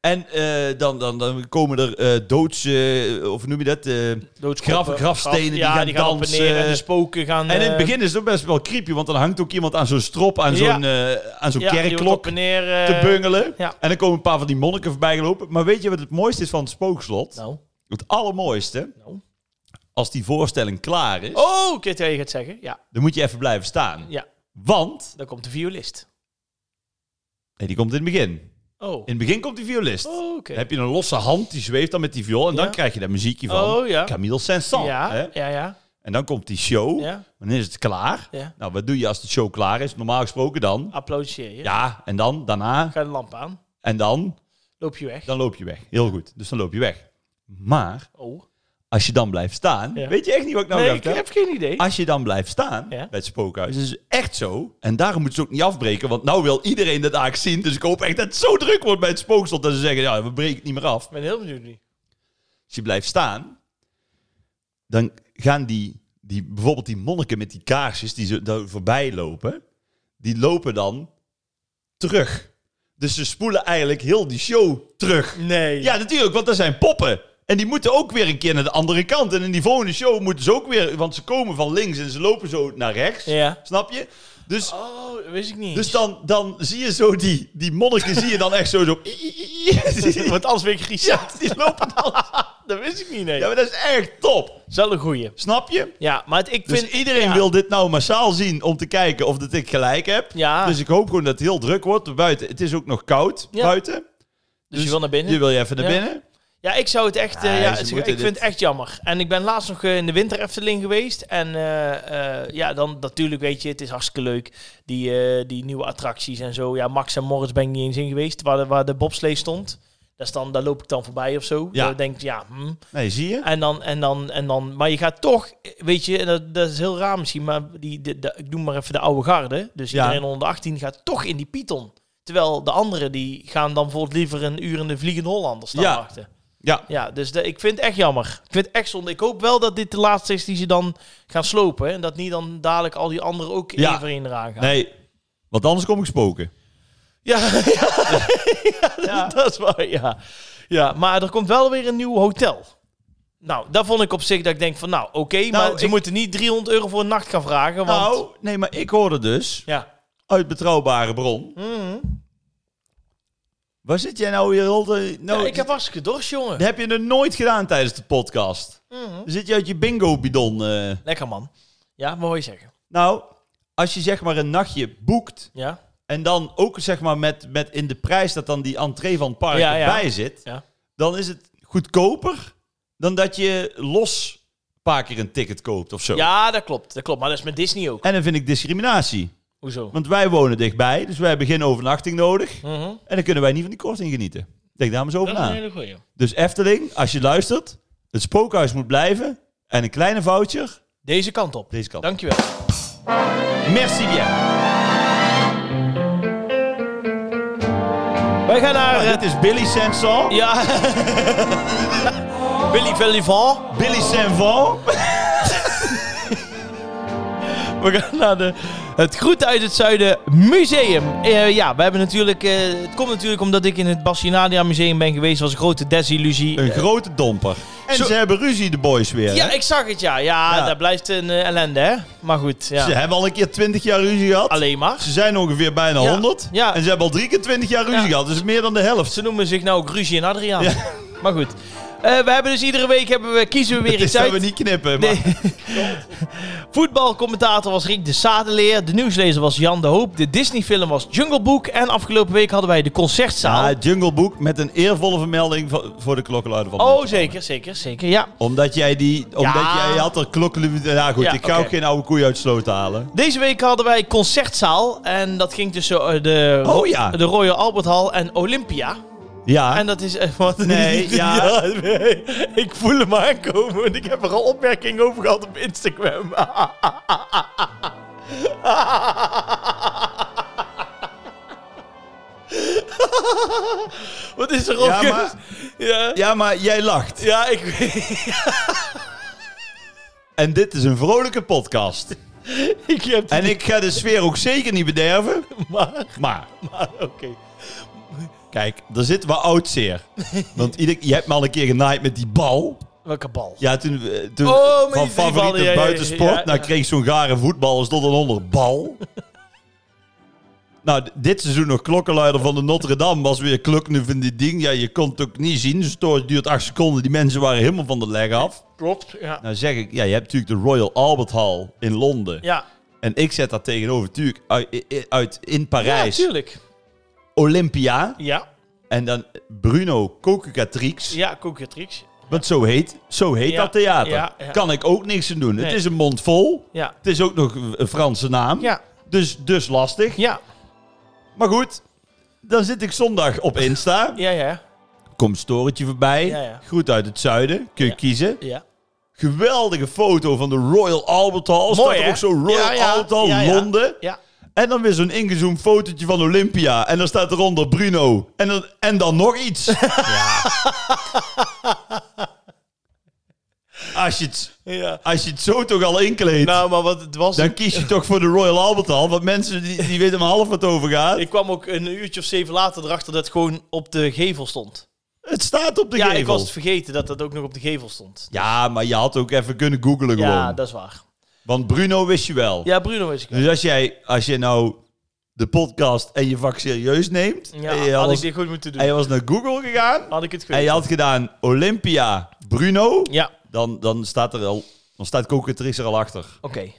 Speaker 2: En eh, dan, dan, dan komen er eh, doods, eh, of hoe noem je dat? eh,
Speaker 1: Doodskoppen,
Speaker 2: Graf- grafstenen
Speaker 1: graf-
Speaker 2: die
Speaker 1: ja,
Speaker 2: gaan
Speaker 1: die gaan op en
Speaker 2: dansen.
Speaker 1: neer en de spoken gaan...
Speaker 2: En in
Speaker 1: eh,
Speaker 2: het begin is het ook best wel creepy, want dan hangt ook iemand aan zo'n strop, aan zo'n
Speaker 1: Ja.
Speaker 2: eh, aan zo'n
Speaker 1: ja, die wordt
Speaker 2: kerkklok
Speaker 1: op en neer, eh,
Speaker 2: te bungelen.
Speaker 1: ja.
Speaker 2: En dan komen een paar van die monniken voorbij gelopen. Maar weet je wat het mooiste is van het spookslot?
Speaker 1: Nou,
Speaker 2: Het allermooiste,
Speaker 1: nou.
Speaker 2: als die voorstelling klaar is,
Speaker 1: Oh, ik weet wat je gaat zeggen. Ja,
Speaker 2: dan moet je even blijven staan.
Speaker 1: ja,
Speaker 2: Want,
Speaker 1: daar komt de violist.
Speaker 2: nee, die komt in het begin.
Speaker 1: Oh,
Speaker 2: In het begin komt die violist.
Speaker 1: oh
Speaker 2: Dan
Speaker 1: oké.
Speaker 2: heb je een losse hand, die zweeft dan met die viool. En
Speaker 1: Ja.
Speaker 2: dan krijg je dat muziekje van
Speaker 1: Oh, ja.
Speaker 2: Camille Saint-Saëns. hè?
Speaker 1: Ja, ja, ja,
Speaker 2: En dan komt die show.
Speaker 1: ja.
Speaker 2: Dan is het klaar.
Speaker 1: ja. Ah,
Speaker 2: Nou, wat doe je als de show klaar is? Normaal gesproken dan.
Speaker 1: Applaudisseer je.
Speaker 2: Ja, en dan, daarna,
Speaker 1: Ga de lamp aan.
Speaker 2: en dan.
Speaker 1: Loop je weg.
Speaker 2: Dan loop je weg. Heel goed. Dus dan loop je weg. Maar
Speaker 1: Oh.
Speaker 2: als je dan blijft staan.
Speaker 1: Ja.
Speaker 2: Weet je echt niet wat ik nou
Speaker 1: nee,
Speaker 2: dacht?
Speaker 1: ik
Speaker 2: hè?
Speaker 1: heb geen idee.
Speaker 2: Als je dan blijft staan
Speaker 1: Ja.
Speaker 2: bij het spookhuis. is het echt zo. En daarom moeten ze ook niet afbreken. Want nou wil iedereen dat eigenlijk zien. Dus ik hoop echt dat het zo druk wordt bij het spookslot. Dat ze zeggen, ja, we breken het niet meer af.
Speaker 1: Ik ben heel benieuwd nu.
Speaker 2: Als je blijft staan. Dan gaan die, die bijvoorbeeld die monniken met die kaarsjes die ze daar voorbij lopen. Die lopen dan terug. Dus ze spoelen eigenlijk heel die show terug.
Speaker 1: Nee.
Speaker 2: Ja, natuurlijk, want dat zijn poppen. En die moeten ook weer een keer naar de andere kant. En in die volgende show moeten ze ook weer... Want ze komen van links en ze lopen zo naar rechts.
Speaker 1: Ja.
Speaker 2: Snap je? Dus,
Speaker 1: Oh, dat wist ik niet.
Speaker 2: dus dan, dan zie je zo die, die monniken... zie je dan echt zo... zo
Speaker 1: Want anders ben ik griezelig.
Speaker 2: ja, die lopen dan...
Speaker 1: Dat wist ik niet, nee.
Speaker 2: Ja, maar dat is echt top.
Speaker 1: Dat is wel een goeie.
Speaker 2: Snap je?
Speaker 1: Ja, maar het- ik
Speaker 2: Dus
Speaker 1: vind...
Speaker 2: iedereen
Speaker 1: ja.
Speaker 2: wil dit nou massaal zien om te kijken of dat ik gelijk heb.
Speaker 1: Ja.
Speaker 2: Dus ik hoop gewoon dat het heel druk wordt buiten. Het is ook nog koud
Speaker 1: Ja.
Speaker 2: buiten.
Speaker 1: Dus je wil naar binnen?
Speaker 2: Je wil je even naar
Speaker 1: Ja.
Speaker 2: binnen.
Speaker 1: Ja, ik zou het echt. eh,
Speaker 2: Nee,
Speaker 1: ja,
Speaker 2: ze
Speaker 1: ik- ik
Speaker 2: moeten
Speaker 1: vind
Speaker 2: dit-
Speaker 1: het echt jammer. En ik ben laatst nog eh, in de winter Efteling geweest. En eh, eh, ja, dan natuurlijk weet je, het is hartstikke leuk. Die, eh, die nieuwe attracties en zo. Ja, Max en Morris ben ik niet eens in geweest. Waar de, waar de bobslee stond. Dat is dan, daar loop ik dan voorbij of zo.
Speaker 2: Ja.
Speaker 1: Dan denk ik, ja, hm.
Speaker 2: Nee, zie je?
Speaker 1: En dan, en dan, en dan. Maar je gaat toch, eh, weet je, en dat, dat is heel raar misschien. Maar die, de, de- ik noem maar even de oude garde. Dus
Speaker 2: Ja.
Speaker 1: iedereen onder de 18 gaat toch in die Python. Terwijl de anderen die gaan dan bijvoorbeeld liever een uur in de Vliegende Hollander staan
Speaker 2: Ja.
Speaker 1: wachten.
Speaker 2: Ja.
Speaker 1: Ja, dus de- ik vind het echt jammer. Ik vind het echt zonde. Ik hoop wel dat dit de laatste is die ze dan gaan slopen. hè. En dat niet dan dadelijk al die anderen ook
Speaker 2: Ja.
Speaker 1: even in eraan gaan.
Speaker 2: Nee, want anders kom ik spoken.
Speaker 1: Ja, ja, ja, dat, dat is waar, ja. ja. Maar er komt wel weer een nieuw hotel. Nou, dat vond ik op zich dat ik denk van, nou, oké. maar ze
Speaker 2: ik-
Speaker 1: moeten niet 300 euro voor een nacht gaan vragen, want...
Speaker 2: Nou, nee, maar ik hoorde dus
Speaker 1: Ja.
Speaker 2: uit betrouwbare bron.
Speaker 1: Mhm.
Speaker 2: Waar zit jij nou weer, Holte? Nou,
Speaker 1: ja ik heb hartstikke dorst, jongen.
Speaker 2: Dat heb je nog nooit gedaan tijdens de podcast.
Speaker 1: Mhm.
Speaker 2: Zit je uit je bingo-bidon? eh?
Speaker 1: Lekker, man. Ja, wat wil je zeggen?
Speaker 2: Nou, als je zeg maar een nachtje boekt...
Speaker 1: Ja?
Speaker 2: en dan ook zeg maar met, met in de prijs dat dan die entree van het park
Speaker 1: Ja, ja.
Speaker 2: erbij zit...
Speaker 1: Ja.
Speaker 2: dan is het goedkoper dan dat je los een paar keer een ticket koopt of zo.
Speaker 1: Ja, dat klopt. Dat klopt. Maar dat is met Disney ook.
Speaker 2: En dan vind ik discriminatie.
Speaker 1: Hoezo?
Speaker 2: Want wij wonen dichtbij, dus wij hebben geen overnachting nodig.
Speaker 1: Mhm.
Speaker 2: En dan kunnen wij niet van die korting genieten. Denk daar maar eens over
Speaker 1: Dat is een
Speaker 2: na.
Speaker 1: hele goeie.
Speaker 2: Dus Efteling, als je luistert, het spookhuis moet blijven. En een kleine voucher,
Speaker 1: Deze kant op.
Speaker 2: deze kant.
Speaker 1: Dankjewel.
Speaker 2: Merci bien.
Speaker 1: Wij gaan naar... eh,
Speaker 2: Dit is Billy Sanson.
Speaker 1: ja. Billy Valivant.
Speaker 2: Billy Sanson.
Speaker 1: We gaan naar de, het Groet uit het Zuiden Museum. Eh, ja, we hebben natuurlijk, eh, het komt natuurlijk omdat ik in het Bassinadia Museum ben geweest. was een grote desillusie.
Speaker 2: Een grote domper. En
Speaker 1: Zo-
Speaker 2: ze hebben ruzie, de boys weer.
Speaker 1: ja,
Speaker 2: hè?
Speaker 1: ik zag het, ja. Ja,
Speaker 2: Ja.
Speaker 1: dat blijft een eh, ellende, hè. Maar goed,
Speaker 2: Ze
Speaker 1: ja.
Speaker 2: hebben al een keer 20 jaar ruzie gehad.
Speaker 1: alleen maar.
Speaker 2: Ze zijn ongeveer bijna
Speaker 1: Ja.
Speaker 2: 100.
Speaker 1: Ja.
Speaker 2: En ze hebben al drie keer 20 jaar ruzie
Speaker 1: Ja.
Speaker 2: gehad. Dus meer dan de helft.
Speaker 1: Ze noemen zich nou ook Ruzie en Adriaan.
Speaker 2: Ja.
Speaker 1: Maar goed. Eh, we hebben dus iedere week hebben we, kiezen we weer
Speaker 2: Dit
Speaker 1: iets
Speaker 2: gaan
Speaker 1: uit.
Speaker 2: we niet knippen. Maar
Speaker 1: Nee. Voetbalcommentator was Rick de Sadeleer. De nieuwslezer was Jan de Hoop. De Disneyfilm was Jungle Book. En afgelopen week hadden wij de concertzaal.
Speaker 2: Ah, Jungle Book met een eervolle vermelding voor- voor de klokkenluider van
Speaker 1: oh,
Speaker 2: Noord.
Speaker 1: zeker, zeker, zeker. Ja.
Speaker 2: Omdat jij die... Omdat
Speaker 1: Ja.
Speaker 2: jij had er klokkenluider... Ja goed,
Speaker 1: Ja,
Speaker 2: ik ga
Speaker 1: oké.
Speaker 2: ook geen oude koeien uit sloot halen.
Speaker 1: Deze week hadden wij concertzaal. En dat ging tussen eh, de,
Speaker 2: Oh, ja.
Speaker 1: de Royal Albert Hall en Olympia.
Speaker 2: Ja.
Speaker 1: En dat is... eh, wat,
Speaker 2: Nee, ja.
Speaker 1: nee. Ik voel hem aankomen. Want ik heb er al opmerkingen over gehad op Instagram. wat is er op?
Speaker 2: Ja, maar-
Speaker 1: ja.
Speaker 2: Ja, maar jij lacht.
Speaker 1: ja, ik weet...
Speaker 2: En dit is een vrolijke podcast.
Speaker 1: Ik heb
Speaker 2: En ik ga de sfeer ook zeker niet bederven.
Speaker 1: maar...
Speaker 2: Maar,
Speaker 1: maar Oké.
Speaker 2: kijk, daar zit wat oud zeer. Want ieder, je hebt me al een keer genaaid met die bal.
Speaker 1: Welke bal?
Speaker 2: Ja, toen, eh, toen
Speaker 1: Oh, met
Speaker 2: van
Speaker 1: die ballen,
Speaker 2: favoriete
Speaker 1: ja, ja, ja,
Speaker 2: buitensport.
Speaker 1: ja, ja.
Speaker 2: Nou kreeg ik zo'n gare voetballer tot een onder bal. nou, d- dit seizoen nog klokkenluider van de Notre Dame was weer klukken van die ding. Ja, je kon het ook niet zien. Dus het duurt acht seconden. Die mensen waren helemaal van de leg af.
Speaker 1: Klopt, ja.
Speaker 2: Nou zeg ik, ja, je hebt natuurlijk de Royal Albert Hall in Londen.
Speaker 1: Ja,
Speaker 2: En ik zet daar tegenover, natuurlijk, uit, uit in Parijs,
Speaker 1: ja tuurlijk.
Speaker 2: Olympia.
Speaker 1: Ja,
Speaker 2: En dan Bruno Cocucatrix.
Speaker 1: ja, Koekjatrix.
Speaker 2: Want zo heet, zo heet
Speaker 1: Ja,
Speaker 2: dat theater.
Speaker 1: ja, ja.
Speaker 2: Kan ik ook niks aan doen.
Speaker 1: Nee.
Speaker 2: Het is een mond vol.
Speaker 1: Ja,
Speaker 2: Het is ook nog een Franse naam.
Speaker 1: ja,
Speaker 2: Dus, dus lastig.
Speaker 1: ja,
Speaker 2: Maar goed, dan zit ik zondag op Insta.
Speaker 1: ja, ja,
Speaker 2: Komt storetje voorbij.
Speaker 1: Ja, ja.
Speaker 2: Groet uit het zuiden. Kun je
Speaker 1: Ja.
Speaker 2: kiezen.
Speaker 1: ja.
Speaker 2: Geweldige foto van de Royal Albert Hall. Staat
Speaker 1: Mooi,
Speaker 2: er
Speaker 1: hè?
Speaker 2: ook zo Royal
Speaker 1: Ja, ja,
Speaker 2: Albert Hall,
Speaker 1: ja, ja.
Speaker 2: Londen.
Speaker 1: Ja,
Speaker 2: En dan weer zo'n ingezoomd fotootje van Olympia. En dan staat eronder Bruno. En dan, en dan nog iets. Als je het...
Speaker 1: ja.
Speaker 2: Als je het zo toch al inkleedt,
Speaker 1: Nou, maar wat het was...
Speaker 2: dan kies je toch voor de Royal Albert Hall. Want mensen die, die weten maar half wat over gaat.
Speaker 1: Ik kwam ook een uurtje of zeven later erachter dat het gewoon op de gevel stond.
Speaker 2: Het staat op de
Speaker 1: ja,
Speaker 2: gevel.
Speaker 1: ik was het vergeten dat dat ook nog op de gevel stond.
Speaker 2: Ja, maar je had ook even kunnen googlen gewoon.
Speaker 1: Ja, dat is waar.
Speaker 2: Want Bruno wist je wel.
Speaker 1: Ja, Bruno is ik.
Speaker 2: Dus als jij, als jij nou de podcast en je vak serieus neemt...
Speaker 1: Ja,
Speaker 2: en, je
Speaker 1: had ik
Speaker 2: was,
Speaker 1: dit goed moeten doen.
Speaker 2: en je was naar Google gegaan...
Speaker 1: Had ik het
Speaker 2: en je
Speaker 1: geweten.
Speaker 2: had gedaan Olympia Bruno...
Speaker 1: Ja,
Speaker 2: Dan, dan staat er al... Dan staat Cocatrix er al achter.
Speaker 1: oké.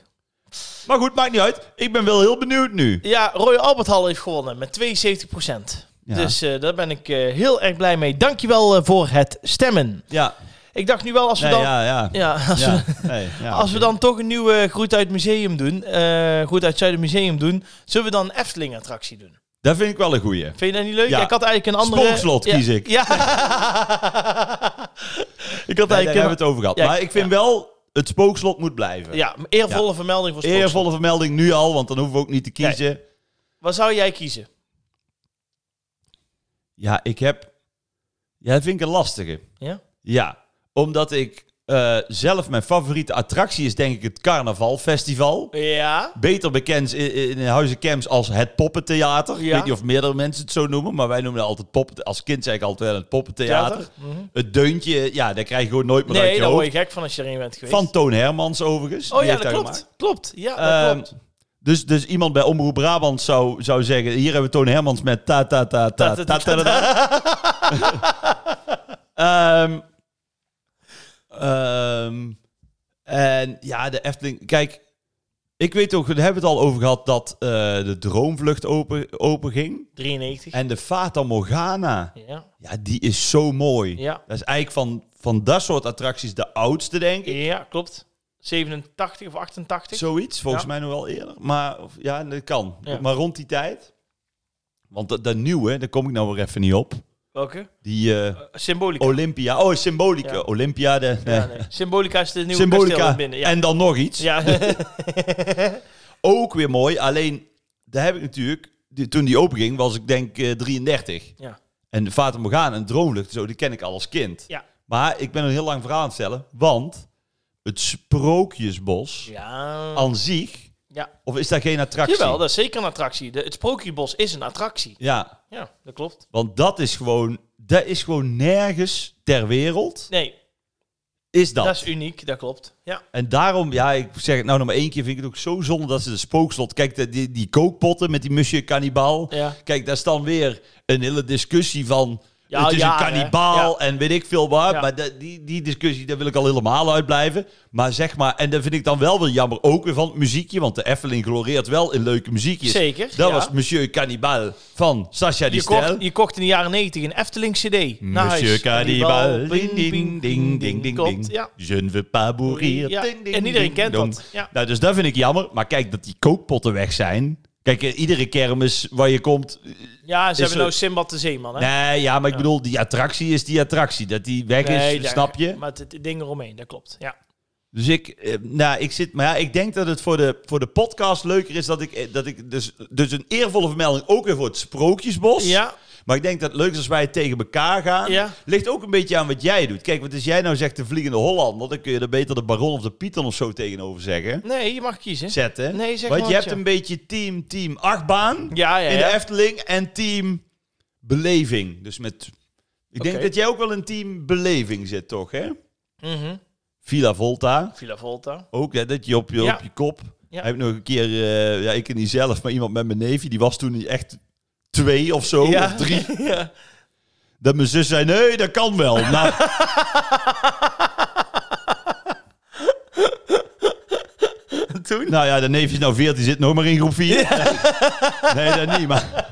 Speaker 2: Maar goed, maakt niet uit. Ik ben wel heel benieuwd nu.
Speaker 1: Ja, Royal Albert Hall heeft gewonnen met 72%.
Speaker 2: Ja.
Speaker 1: Dus eh, daar ben ik eh, heel erg blij mee. Dankjewel eh, voor het stemmen.
Speaker 2: Ja,
Speaker 1: Ik dacht nu wel, als we
Speaker 2: nee,
Speaker 1: dan...
Speaker 2: ja, ja.
Speaker 1: Ja, als
Speaker 2: Ja,
Speaker 1: we-
Speaker 2: nee, ja,
Speaker 1: Als we dan toch een nieuwe Groet uit Museum doen, eh Groet uit Zuiden Museum doen, zullen we dan een Efteling-attractie doen?
Speaker 2: Dat vind ik wel een goeie.
Speaker 1: Vind je dat niet leuk?
Speaker 2: Ja.
Speaker 1: Ja, Ik had eigenlijk een andere...
Speaker 2: Spookslot kies
Speaker 1: Ja.
Speaker 2: ik.
Speaker 1: Ja. ik had
Speaker 2: Daar, daar
Speaker 1: eigenlijk
Speaker 2: hebben we
Speaker 1: een...
Speaker 2: het over gehad.
Speaker 1: Ja,
Speaker 2: maar ik vind wel, het spookslot moet blijven.
Speaker 1: Ja, een eervolle vermelding voor Spookslot.
Speaker 2: Eervolle vermelding nu al, want dan hoeven we ook niet te kiezen.
Speaker 1: Wat zou jij kiezen?
Speaker 2: Ja, ik heb... Ja, dat vind ik een lastige.
Speaker 1: Ja?
Speaker 2: Ja, omdat ik eh, zelf... Mijn favoriete attractie is denk ik het Carnavalfestival.
Speaker 1: Ja?
Speaker 2: Beter bekend in, in in Huizen Camps als het Poppentheater. Ik
Speaker 1: Ja.
Speaker 2: weet niet of meerdere mensen het zo noemen, maar wij noemen het altijd poppen... Als kind zei ik altijd wel het Poppentheater.
Speaker 1: Mhm.
Speaker 2: Het deuntje, ja, daar krijg je gewoon nooit meer uit
Speaker 1: Nee,
Speaker 2: je
Speaker 1: daar word je
Speaker 2: hoofd.
Speaker 1: gek van als je erin bent geweest.
Speaker 2: Van Toon Hermans overigens.
Speaker 1: oh
Speaker 2: Die
Speaker 1: ja,
Speaker 2: heeft
Speaker 1: dat klopt.
Speaker 2: gemaakt.
Speaker 1: Klopt. Ja, dat
Speaker 2: Ehm,
Speaker 1: klopt.
Speaker 2: Dus, dus iemand bij Omroep Brabant zou, zou zeggen... Hier hebben we Toon Hermans met ta ta ta ta ta ta ta ta. Ehm, ehm, En ja, de Efteling... Kijk, ik weet ook... We hebben het al over gehad dat eh, de Droomvlucht open, open ging.
Speaker 1: 93.
Speaker 2: En de Fata Morgana.
Speaker 1: Ja.
Speaker 2: Ja, die is zo mooi.
Speaker 1: Ja.
Speaker 2: Dat is eigenlijk van, van dat soort attracties de oudste, denk ik.
Speaker 1: ja, klopt. 87 of 88.
Speaker 2: Zoiets, volgens
Speaker 1: Ja.
Speaker 2: mij nog wel eerder. Maar of- ja, dat kan.
Speaker 1: Ja.
Speaker 2: Maar rond die tijd. Want dat, dat nieuwe, daar kom ik nou weer even niet op.
Speaker 1: Welke?
Speaker 2: Die eh,
Speaker 1: Eh, Symbolica.
Speaker 2: Olympia. Oh, Symbolica.
Speaker 1: Ja.
Speaker 2: Olympia, de,
Speaker 1: ja, nee. Symbolica is de nieuwe
Speaker 2: Symbolica.
Speaker 1: kasteel binnen. Ja.
Speaker 2: En dan nog iets.
Speaker 1: Ja.
Speaker 2: Ook weer mooi. Alleen, daar heb ik natuurlijk... die- toen die openging, was ik denk eh, 33.
Speaker 1: ja.
Speaker 2: En de Fata Morgana en Droomlucht, zo, die ken ik al als kind.
Speaker 1: Ja.
Speaker 2: Maar ik ben een heel lang verhaal aan het stellen. Want het Sprookjesbos
Speaker 1: Ja.
Speaker 2: aan zich...
Speaker 1: Ja.
Speaker 2: Of is daar geen attractie?
Speaker 1: Jawel, dat is zeker een attractie. De, het Sprookjesbos is een attractie.
Speaker 2: Ja,
Speaker 1: Ja, dat klopt.
Speaker 2: want dat is gewoon... Dat is gewoon nergens ter wereld.
Speaker 1: Nee,
Speaker 2: Is dat.
Speaker 1: dat is uniek. Dat klopt. Ja.
Speaker 2: En daarom, ja, ik zeg het nou nog maar één keer, vind ik het ook zo zonde dat ze de spookslot... Kijk, de- die, die kookpotten met die musje kannibaal.
Speaker 1: Ja.
Speaker 2: Kijk, daar is dan weer een hele discussie van...
Speaker 1: Ja,
Speaker 2: het is
Speaker 1: ja,
Speaker 2: een kannibaal en weet ik veel wat.
Speaker 1: Ja.
Speaker 2: Maar dat- die, die discussie, daar wil ik al helemaal uitblijven. Maar zeg maar, en dat vind ik dan wel weer jammer. Ook weer van het muziekje, want de Effeling gloreert wel in leuke muziekjes.
Speaker 1: Zeker,
Speaker 2: Dat
Speaker 1: ja.
Speaker 2: was Monsieur Cannibal van Sasha die
Speaker 1: Je
Speaker 2: Stel.
Speaker 1: kocht, je kocht in de jaren 90 een Efteling CD. Naar
Speaker 2: Monsieur
Speaker 1: huis.
Speaker 2: Cannibal,
Speaker 1: Cannibal,
Speaker 2: ding ding ding ding ding
Speaker 1: Klopt,
Speaker 2: ding.
Speaker 1: ja.
Speaker 2: Je ne veux pas mourir.
Speaker 1: Ja,
Speaker 2: ding, ding,
Speaker 1: en iedereen
Speaker 2: ding,
Speaker 1: kent
Speaker 2: dong.
Speaker 1: dat, ja.
Speaker 2: Nou, dus dat vind ik jammer. Maar kijk, dat die kookpotten weg zijn. Kijk, eh, iedere kermis waar je komt... eh,
Speaker 1: Ja, ze hebben
Speaker 2: er-
Speaker 1: nou Simbad de Zeeman, hè?
Speaker 2: Nee, ja, maar ik bedoel, die attractie is die attractie. Dat die weg
Speaker 1: Nee,
Speaker 2: is,
Speaker 1: daar-
Speaker 2: snap je?
Speaker 1: Maar het, het ding eromheen, dat klopt. Ja.
Speaker 2: Dus ik, eh, nou, ik zit... Maar ja, ik denk dat het voor de, voor de podcast leuker is dat ik... eh, Dat ik dus, dus een eervolle vermelding ook weer voor het Sprookjesbos.
Speaker 1: Ja.
Speaker 2: Maar ik denk dat het leuk is als wij tegen elkaar gaan.
Speaker 1: Ja.
Speaker 2: Ligt ook een beetje aan wat jij doet. Kijk, wat als jij nou zegt de Vliegende Hollander... dan kun je er beter de Baron of de Python of zo tegenover zeggen.
Speaker 1: Nee, je mag kiezen.
Speaker 2: Zetten.
Speaker 1: Nee, zeg
Speaker 2: Want
Speaker 1: maar
Speaker 2: je
Speaker 1: wat,
Speaker 2: hebt
Speaker 1: ja.
Speaker 2: een beetje team, team achtbaan
Speaker 1: Ja, ja,
Speaker 2: in de
Speaker 1: ja.
Speaker 2: Efteling... en team beleving. Dus met... Ik denk
Speaker 1: Oké.
Speaker 2: dat jij ook wel een team beleving zit, toch? Hè?
Speaker 1: Mhm.
Speaker 2: Villa Volta.
Speaker 1: Villa Volta.
Speaker 2: Ook hè, dat je op je,
Speaker 1: Ja.
Speaker 2: op je kop.
Speaker 1: Ja.
Speaker 2: Heb ik nog een keer, eh, ja, ik niet zelf, maar iemand met mijn neefje, die was toen echt twee of zo,
Speaker 1: Ja.
Speaker 2: of Oh, drie.
Speaker 1: Ja.
Speaker 2: Dat mijn zus zei, nee, dat kan wel. Nou,
Speaker 1: Toen?
Speaker 2: nou ja, de neefje is nou 14, zit nog maar in groep 4. Nee, dat niet, maar...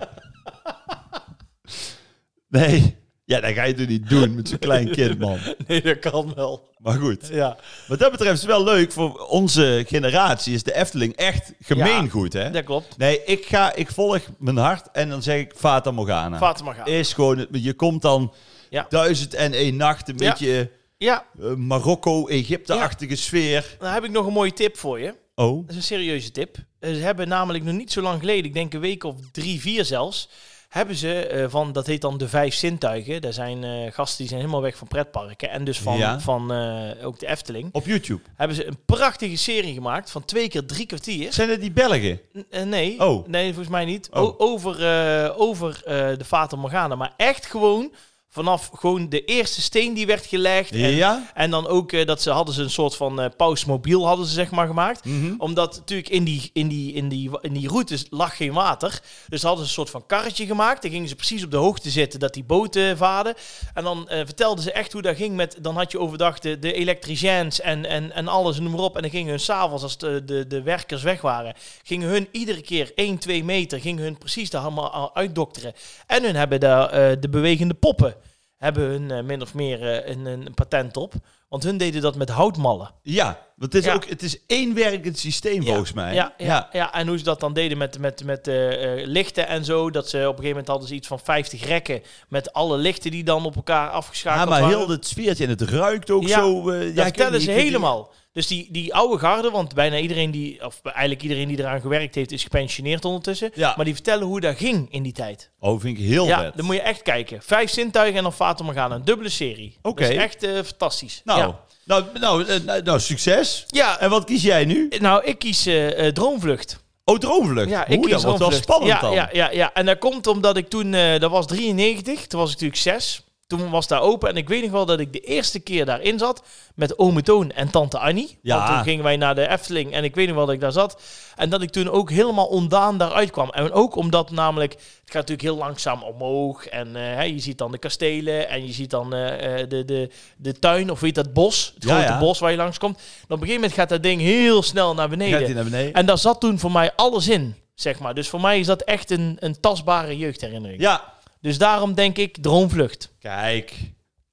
Speaker 2: Nee, ja, dat ga je toen niet doen met zo'n klein kind, man.
Speaker 1: Nee, dat kan wel.
Speaker 2: Maar goed.
Speaker 1: Ja.
Speaker 2: Wat dat betreft is het wel leuk, voor onze generatie is de Efteling echt gemeengoed, hè?
Speaker 1: Dat klopt.
Speaker 2: Nee, ik, ga, ik volg mijn hart en dan zeg ik Fata Morgana.
Speaker 1: Vaten maar gaan.
Speaker 2: is gewoon, het- je komt dan
Speaker 1: Ja.
Speaker 2: duizend en één nacht, een
Speaker 1: Ja.
Speaker 2: beetje
Speaker 1: Ja,
Speaker 2: eh, Marokko-Egypte-achtige sfeer.
Speaker 1: dan heb ik nog een mooie tip voor je.
Speaker 2: Oh,
Speaker 1: Dat is een serieuze tip. Eh, Ze hebben namelijk nog niet zo lang geleden, ik denk een week of drie, vier zelfs, hebben ze eh, van, dat heet dan de vijf zintuigen. Daar zijn eh, gasten die zijn helemaal weg van pretparken en dus van,
Speaker 2: Ja.
Speaker 1: van eh, ook de Efteling.
Speaker 2: op YouTube.
Speaker 1: Hebben ze een prachtige serie gemaakt van twee keer drie kwartier.
Speaker 2: Zijn dat die Belgen?
Speaker 1: N- eh, nee,
Speaker 2: Oh.
Speaker 1: nee, volgens mij niet.
Speaker 2: Oh.
Speaker 1: O- over eh, over eh, de Fata Morgana. Maar echt gewoon vanaf gewoon de eerste steen die werd gelegd. En,
Speaker 2: Ja?
Speaker 1: en dan ook eh, dat ze hadden ze een soort van eh pausmobiel hadden ze zeg maar gemaakt.
Speaker 2: Mhm.
Speaker 1: Omdat natuurlijk in die, in, die, in, die, in die routes lag geen water. Dus hadden ze een soort van karretje gemaakt. Dan gingen ze precies op de hoogte zitten dat die boten vaden. En dan eh, vertelden ze echt hoe dat ging. Met, dan had je overdag de, de elektriciens en, en, en alles en noem maar op. En dan gingen hun s'avonds, als de, de, de werkers weg waren, gingen hun iedere keer 1, 2 meter, gingen hun precies daar allemaal al uitdokteren. En hun hebben daar eh, de bewegende poppen. Hebben hun eh, min of meer eh, een, een patent op. Want hun deden dat met houtmallen.
Speaker 2: Ja, want het is,
Speaker 1: Ja.
Speaker 2: Ook, het is één werkend systeem volgens mij.
Speaker 1: Ja, ja, ja. en hoe ze dat dan deden met, met, met eh, eh, lichten en zo. Dat ze op een gegeven moment hadden ze iets van 50 rekken. Met alle lichten die dan op elkaar
Speaker 2: Ja,
Speaker 1: afgeschakeld
Speaker 2: maar
Speaker 1: waren.
Speaker 2: heel het sfeertje en het ruikt ook
Speaker 1: Ja,
Speaker 2: zo. eh, ja,
Speaker 1: dat
Speaker 2: ik weet
Speaker 1: vertellen
Speaker 2: niet,
Speaker 1: ze
Speaker 2: ik vind die-
Speaker 1: helemaal. Dus die, die oude garde, want bijna iedereen die, of eigenlijk iedereen die eraan gewerkt heeft, is gepensioneerd ondertussen.
Speaker 2: Ja.
Speaker 1: Maar die vertellen hoe dat ging in die tijd.
Speaker 2: Oh, vind ik heel
Speaker 1: ja,
Speaker 2: vet.
Speaker 1: dan moet je echt kijken. Vijf zintuigen en dan Fata Morgana. Een dubbele serie.
Speaker 2: Oké.
Speaker 1: Dat is echt eh, fantastisch.
Speaker 2: nou,
Speaker 1: Ja.
Speaker 2: nou, nou, eh, nou, nou, succes.
Speaker 1: Ja.
Speaker 2: En wat kies jij nu?
Speaker 1: Nou, ik kies eh, eh, Droomvlucht.
Speaker 2: Oh, Droomvlucht.
Speaker 1: Ja, ik
Speaker 2: Oeh,
Speaker 1: kies
Speaker 2: dat wordt wel
Speaker 1: Droomvlucht.
Speaker 2: spannend
Speaker 1: ja,
Speaker 2: dan.
Speaker 1: Ja, ja, ja, en dat komt omdat ik toen, eh, dat was 93, toen was ik natuurlijk 6. Toen was daar open en ik weet nog wel dat ik de eerste keer daarin zat met ome Toon en tante Annie.
Speaker 2: Ja.
Speaker 1: Want toen gingen wij naar de Efteling en ik weet nog wel dat ik daar zat. En dat ik toen ook helemaal ondaan daaruit kwam. En ook omdat namelijk, het gaat natuurlijk heel langzaam omhoog. En eh, hè, je ziet dan de kastelen en je ziet dan eh, eh, de, de, de tuin of weet dat bos. Het
Speaker 2: Ja,
Speaker 1: grote
Speaker 2: ja.
Speaker 1: bos waar je langskomt. En op een gegeven moment gaat dat ding heel snel naar beneden.
Speaker 2: Gaat die naar beneden?
Speaker 1: En daar zat toen voor mij alles in, zeg maar. Dus voor mij is dat echt een, een tastbare jeugdherinnering.
Speaker 2: Ja.
Speaker 1: Dus daarom denk ik Droomvlucht.
Speaker 2: Kijk.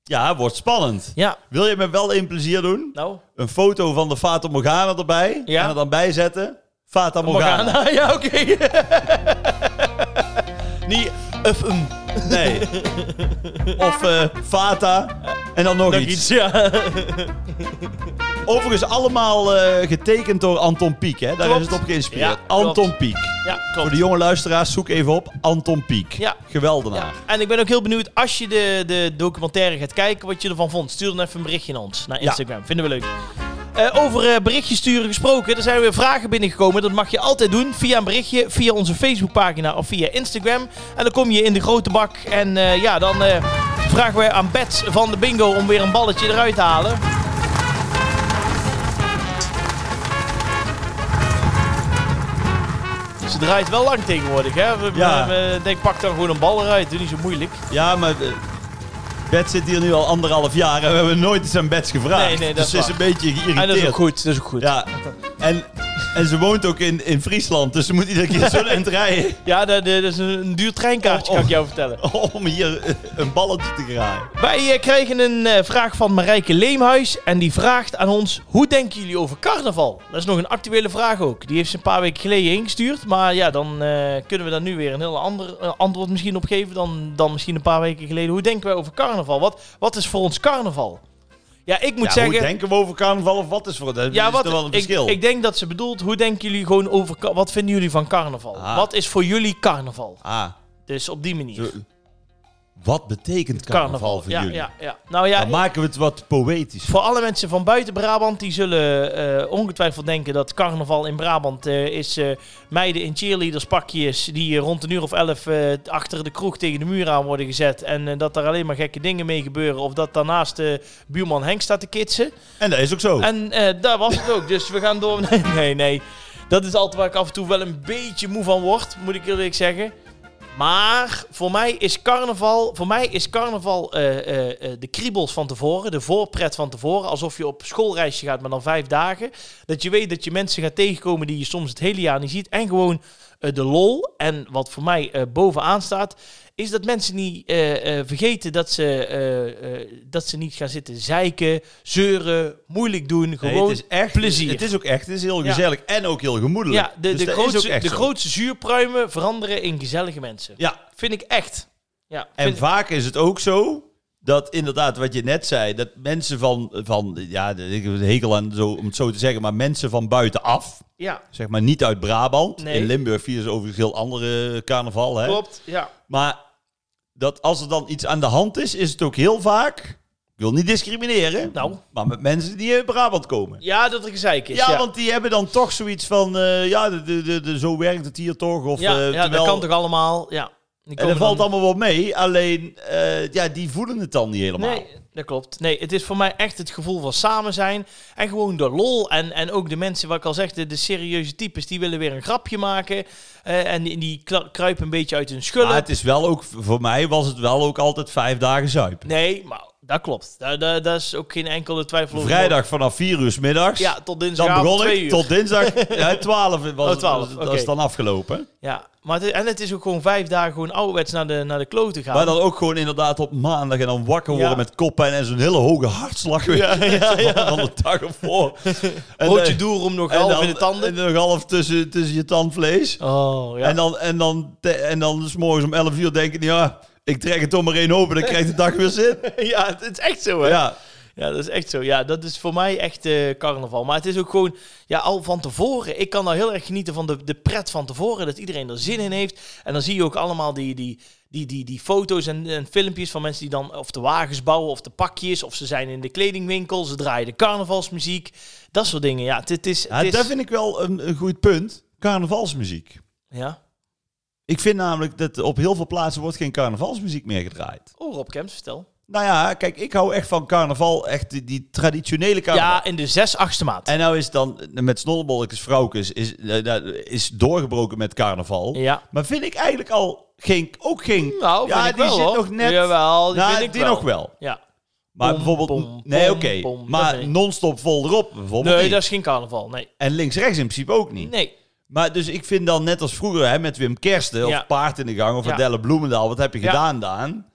Speaker 2: Ja, wordt spannend.
Speaker 1: Ja,
Speaker 2: Wil je me wel een plezier doen?
Speaker 1: nou.
Speaker 2: Een foto van de Fata Morgana erbij.
Speaker 1: Ja.
Speaker 2: En er dan bij zetten. Fata Morgana.
Speaker 1: Morgana. Ja, oké. Niet of een.
Speaker 2: Nee. of eh, Fata. En dan nog
Speaker 1: Nog
Speaker 2: iets.
Speaker 1: iets, ja.
Speaker 2: Overigens allemaal eh, getekend door Anton Pieck. Hè? Daar
Speaker 1: Klopt.
Speaker 2: is het op geïnspireerd.
Speaker 1: Ja,
Speaker 2: Anton
Speaker 1: klopt.
Speaker 2: Pieck.
Speaker 1: Ja,
Speaker 2: Voor
Speaker 1: klopt.
Speaker 2: de jonge luisteraars, zoek even op Anton Pieck.
Speaker 1: Ja.
Speaker 2: Geweldenaar.
Speaker 1: Ja. En ik ben ook heel benieuwd als je de, de documentaire gaat kijken, wat je ervan vond. Stuur dan even een berichtje naar ons, naar
Speaker 2: Ja.
Speaker 1: Instagram. Vinden we leuk. Eh, over eh, berichtjes sturen gesproken, er zijn weer vragen binnengekomen. Dat mag je altijd doen via een berichtje, via onze Facebookpagina of via Instagram. En dan kom je in de grote bak en eh, ja, dan eh, vragen we aan Bets van de Bingo om weer een balletje eruit te halen. Ze draait wel lang tegenwoordig, hè? We-
Speaker 2: Ja.
Speaker 1: we- ik denk, pak dan gewoon een bal eruit. Doe niet zo moeilijk.
Speaker 2: Ja, maar... eh, Bert zit hier nu al anderhalf jaar en we hebben nooit eens aan Bets gevraagd.
Speaker 1: Nee, nee, dat
Speaker 2: dus
Speaker 1: is
Speaker 2: ze is
Speaker 1: waar.
Speaker 2: een beetje
Speaker 1: En
Speaker 2: geïrriteerd.
Speaker 1: dat is ook goed. Dat is ook goed.
Speaker 2: Ja. En, en ze woont ook in, in Friesland, dus ze moet iedere keer zo lent rijden
Speaker 1: Ja, dat, dat is een, een duur treinkaartje,
Speaker 2: Oh, oh.
Speaker 1: kan ik jou vertellen.
Speaker 2: om hier eh, een balletje te graaien.
Speaker 1: Wij eh, kregen een eh, vraag van Marijke Leemhuis. En die vraagt aan ons: hoe denken jullie over carnaval? Dat is nog een actuele vraag ook. Die heeft ze een paar weken geleden ingestuurd. Maar ja, dan eh, kunnen we daar nu weer een heel ander eh, antwoord misschien op geven. Dan, dan misschien een paar weken geleden. Hoe denken wij over carnaval? Wat, wat is voor ons carnaval? Ja, ik moet
Speaker 2: Ja,
Speaker 1: zeggen.
Speaker 2: hoe denken we over carnaval of wat is voor dat?
Speaker 1: Ja,
Speaker 2: is
Speaker 1: wat,
Speaker 2: er wel een
Speaker 1: ik,
Speaker 2: verschil.
Speaker 1: ik denk dat ze bedoelt, hoe denken jullie gewoon over... ka- Wat vinden jullie van carnaval?
Speaker 2: Ah.
Speaker 1: Wat is voor jullie carnaval?
Speaker 2: ah,
Speaker 1: Dus op die manier.
Speaker 2: zo- wat betekent carnaval, voor
Speaker 1: ja,
Speaker 2: jullie?
Speaker 1: Ja, ja. Nou ja,
Speaker 2: Dan maken we het wat poëtisch.
Speaker 1: voor alle mensen van buiten Brabant, die zullen eh, ongetwijfeld denken dat carnaval in Brabant eh, is eh, meiden in cheerleaderspakjes die eh, rond een uur of elf eh, achter de kroeg tegen de muur aan worden gezet en eh, dat daar alleen maar gekke dingen mee gebeuren of dat daarnaast eh, buurman Henk staat te kitsen.
Speaker 2: En dat is ook zo.
Speaker 1: En eh, daar was het ook. Dus we gaan door. Nee, nee, nee. Dat is altijd waar ik af en toe wel een beetje moe van word, moet ik eerlijk zeggen. Maar voor mij is carnaval, voor mij is carnaval eh, eh, eh, de kriebels van tevoren, de voorpret van tevoren. Alsof je op schoolreisje gaat, maar dan vijf dagen. Dat je weet dat je mensen gaat tegenkomen die je soms het hele jaar niet ziet. En gewoon eh, de lol. En wat voor mij eh, bovenaan staat, is dat mensen niet eh, eh, vergeten dat ze, eh, eh, dat ze niet gaan zitten zeiken, zeuren, moeilijk doen.
Speaker 2: Nee,
Speaker 1: Gewoon
Speaker 2: het is echt
Speaker 1: plezier.
Speaker 2: Het is ook echt, het is heel
Speaker 1: Ja.
Speaker 2: gezellig en ook heel gemoedelijk.
Speaker 1: ja, de,
Speaker 2: Dus
Speaker 1: de,
Speaker 2: dat is
Speaker 1: grootste,
Speaker 2: ook echt
Speaker 1: de
Speaker 2: zo.
Speaker 1: grootste zuurpruimen veranderen in gezellige mensen.
Speaker 2: Ja,
Speaker 1: Vind ik echt. Ja,
Speaker 2: en
Speaker 1: vind-
Speaker 2: vaak is het ook zo dat inderdaad wat je net zei, dat mensen van, van ja, ik heb een hekel aan zo, om het zo te zeggen, maar mensen van buitenaf,
Speaker 1: ja
Speaker 2: zeg maar niet uit Brabant.
Speaker 1: Nee.
Speaker 2: In Limburg vieren ze overigens heel andere carnaval, hè.
Speaker 1: klopt. Ja.
Speaker 2: Maar dat als er dan iets aan de hand is, is het ook heel vaak, ik wil niet discrimineren,
Speaker 1: Nou.
Speaker 2: maar met mensen die uit Brabant komen.
Speaker 1: ja, dat er gezeik is.
Speaker 2: Ja,
Speaker 1: Ja,
Speaker 2: want die hebben dan toch zoiets van, eh, ja, de, de, de, de- zo werkt het hier toch. Of,
Speaker 1: ja,
Speaker 2: eh,
Speaker 1: ja,
Speaker 2: terwijl-
Speaker 1: dat kan toch allemaal. Ja. Die
Speaker 2: En
Speaker 1: komen
Speaker 2: dat valt
Speaker 1: dan-
Speaker 2: allemaal wel mee, alleen eh, ja, die voelen het dan niet helemaal.
Speaker 1: Nee, dat klopt. Nee, het is voor mij echt het gevoel van samen zijn. En gewoon de lol. En, en ook de mensen, wat ik al zeg, de, de serieuze types, die willen weer een grapje maken. Eh, en die, die kla- kruipen een beetje uit hun schullen.
Speaker 2: Maar het is wel ook, voor mij was het wel ook altijd vijf dagen zuipen.
Speaker 1: Nee, maar dat klopt. Daar, daar, daar is ook geen enkele twijfel over.
Speaker 2: Vrijdag vanaf vier uur 's middags.
Speaker 1: Ja, tot
Speaker 2: dan
Speaker 1: dinsdag
Speaker 2: begon
Speaker 1: twee
Speaker 2: ik
Speaker 1: uur.
Speaker 2: tot dinsdag ja, 12 was,
Speaker 1: Oh, 12,
Speaker 2: was,
Speaker 1: oké.
Speaker 2: was het dan afgelopen.
Speaker 1: Ja, maar het, en het is ook gewoon vijf dagen gewoon ouderwets naar de, naar de kloten gaan.
Speaker 2: Maar dan ook gewoon inderdaad op maandag en dan wakker worden
Speaker 1: Ja.
Speaker 2: met koppen en zo'n hele hoge hartslag weer.
Speaker 1: ja, ja.
Speaker 2: Van de dag ervoor. En,
Speaker 1: Broodje
Speaker 2: eh,
Speaker 1: doer om nog
Speaker 2: en
Speaker 1: half
Speaker 2: dan-
Speaker 1: in de tanden.
Speaker 2: En nog half tussen, tussen je tandvlees.
Speaker 1: oh, ja.
Speaker 2: En dan, en dan, te- en dan s morgens om 11 uur denken, ja, ik trek het om maar één open, dan krijgt de dag weer zin.
Speaker 1: ja, het is echt zo, hè? Ja.
Speaker 2: Ja,
Speaker 1: dat is echt zo. Ja, dat is voor mij echt eh, carnaval. Maar het is ook gewoon, ja, al van tevoren. Ik kan daar heel erg genieten van de, de pret van tevoren. Dat iedereen er zin in heeft. En dan zie je ook allemaal die, die, die, die, die foto's en, en filmpjes van mensen die dan of de wagens bouwen of de pakjes. Of ze zijn in de kledingwinkel. Ze draaien de carnavalsmuziek. Dat soort dingen. Ja, het, het is...
Speaker 2: ja
Speaker 1: het is-
Speaker 2: dat vind ik wel een, een goed punt. Carnavalsmuziek.
Speaker 1: ja.
Speaker 2: Ik vind namelijk dat op heel veel plaatsen wordt geen carnavalsmuziek meer gedraaid.
Speaker 1: Oh, Rob Kemps, vertel.
Speaker 2: Nou ja, kijk, ik hou echt van carnaval, echt die, die traditionele carnaval.
Speaker 1: Ja, in de 6 8 maand.
Speaker 2: En nou is dan eh, met snollebolletjes vrouwkes is, eh, dat is doorgebroken met carnaval.
Speaker 1: Ja.
Speaker 2: Maar vind ik eigenlijk al geen, ook geen.
Speaker 1: Nou,
Speaker 2: ja,
Speaker 1: vind ik
Speaker 2: die
Speaker 1: wel,
Speaker 2: zit
Speaker 1: hoor.
Speaker 2: nog net.
Speaker 1: Jawel, die
Speaker 2: Nou,
Speaker 1: vind ik
Speaker 2: die
Speaker 1: wel.
Speaker 2: nog wel.
Speaker 1: Ja.
Speaker 2: Maar
Speaker 1: Pom,
Speaker 2: bijvoorbeeld,
Speaker 1: pom,
Speaker 2: nee,
Speaker 1: pom,
Speaker 2: oké.
Speaker 1: pom, dat vind
Speaker 2: maar
Speaker 1: ik.
Speaker 2: non-stop vol erop, bijvoorbeeld.
Speaker 1: Nee,
Speaker 2: niet.
Speaker 1: dat is geen carnaval. Nee.
Speaker 2: En links-rechts in principe ook niet.
Speaker 1: Nee.
Speaker 2: Maar dus ik vind dan net als vroeger hè, met Wim Kersten of
Speaker 1: Ja.
Speaker 2: Paard in de Gang of
Speaker 1: Ja.
Speaker 2: Adelle Bloemendaal, wat heb je
Speaker 1: Ja.
Speaker 2: gedaan, Daan?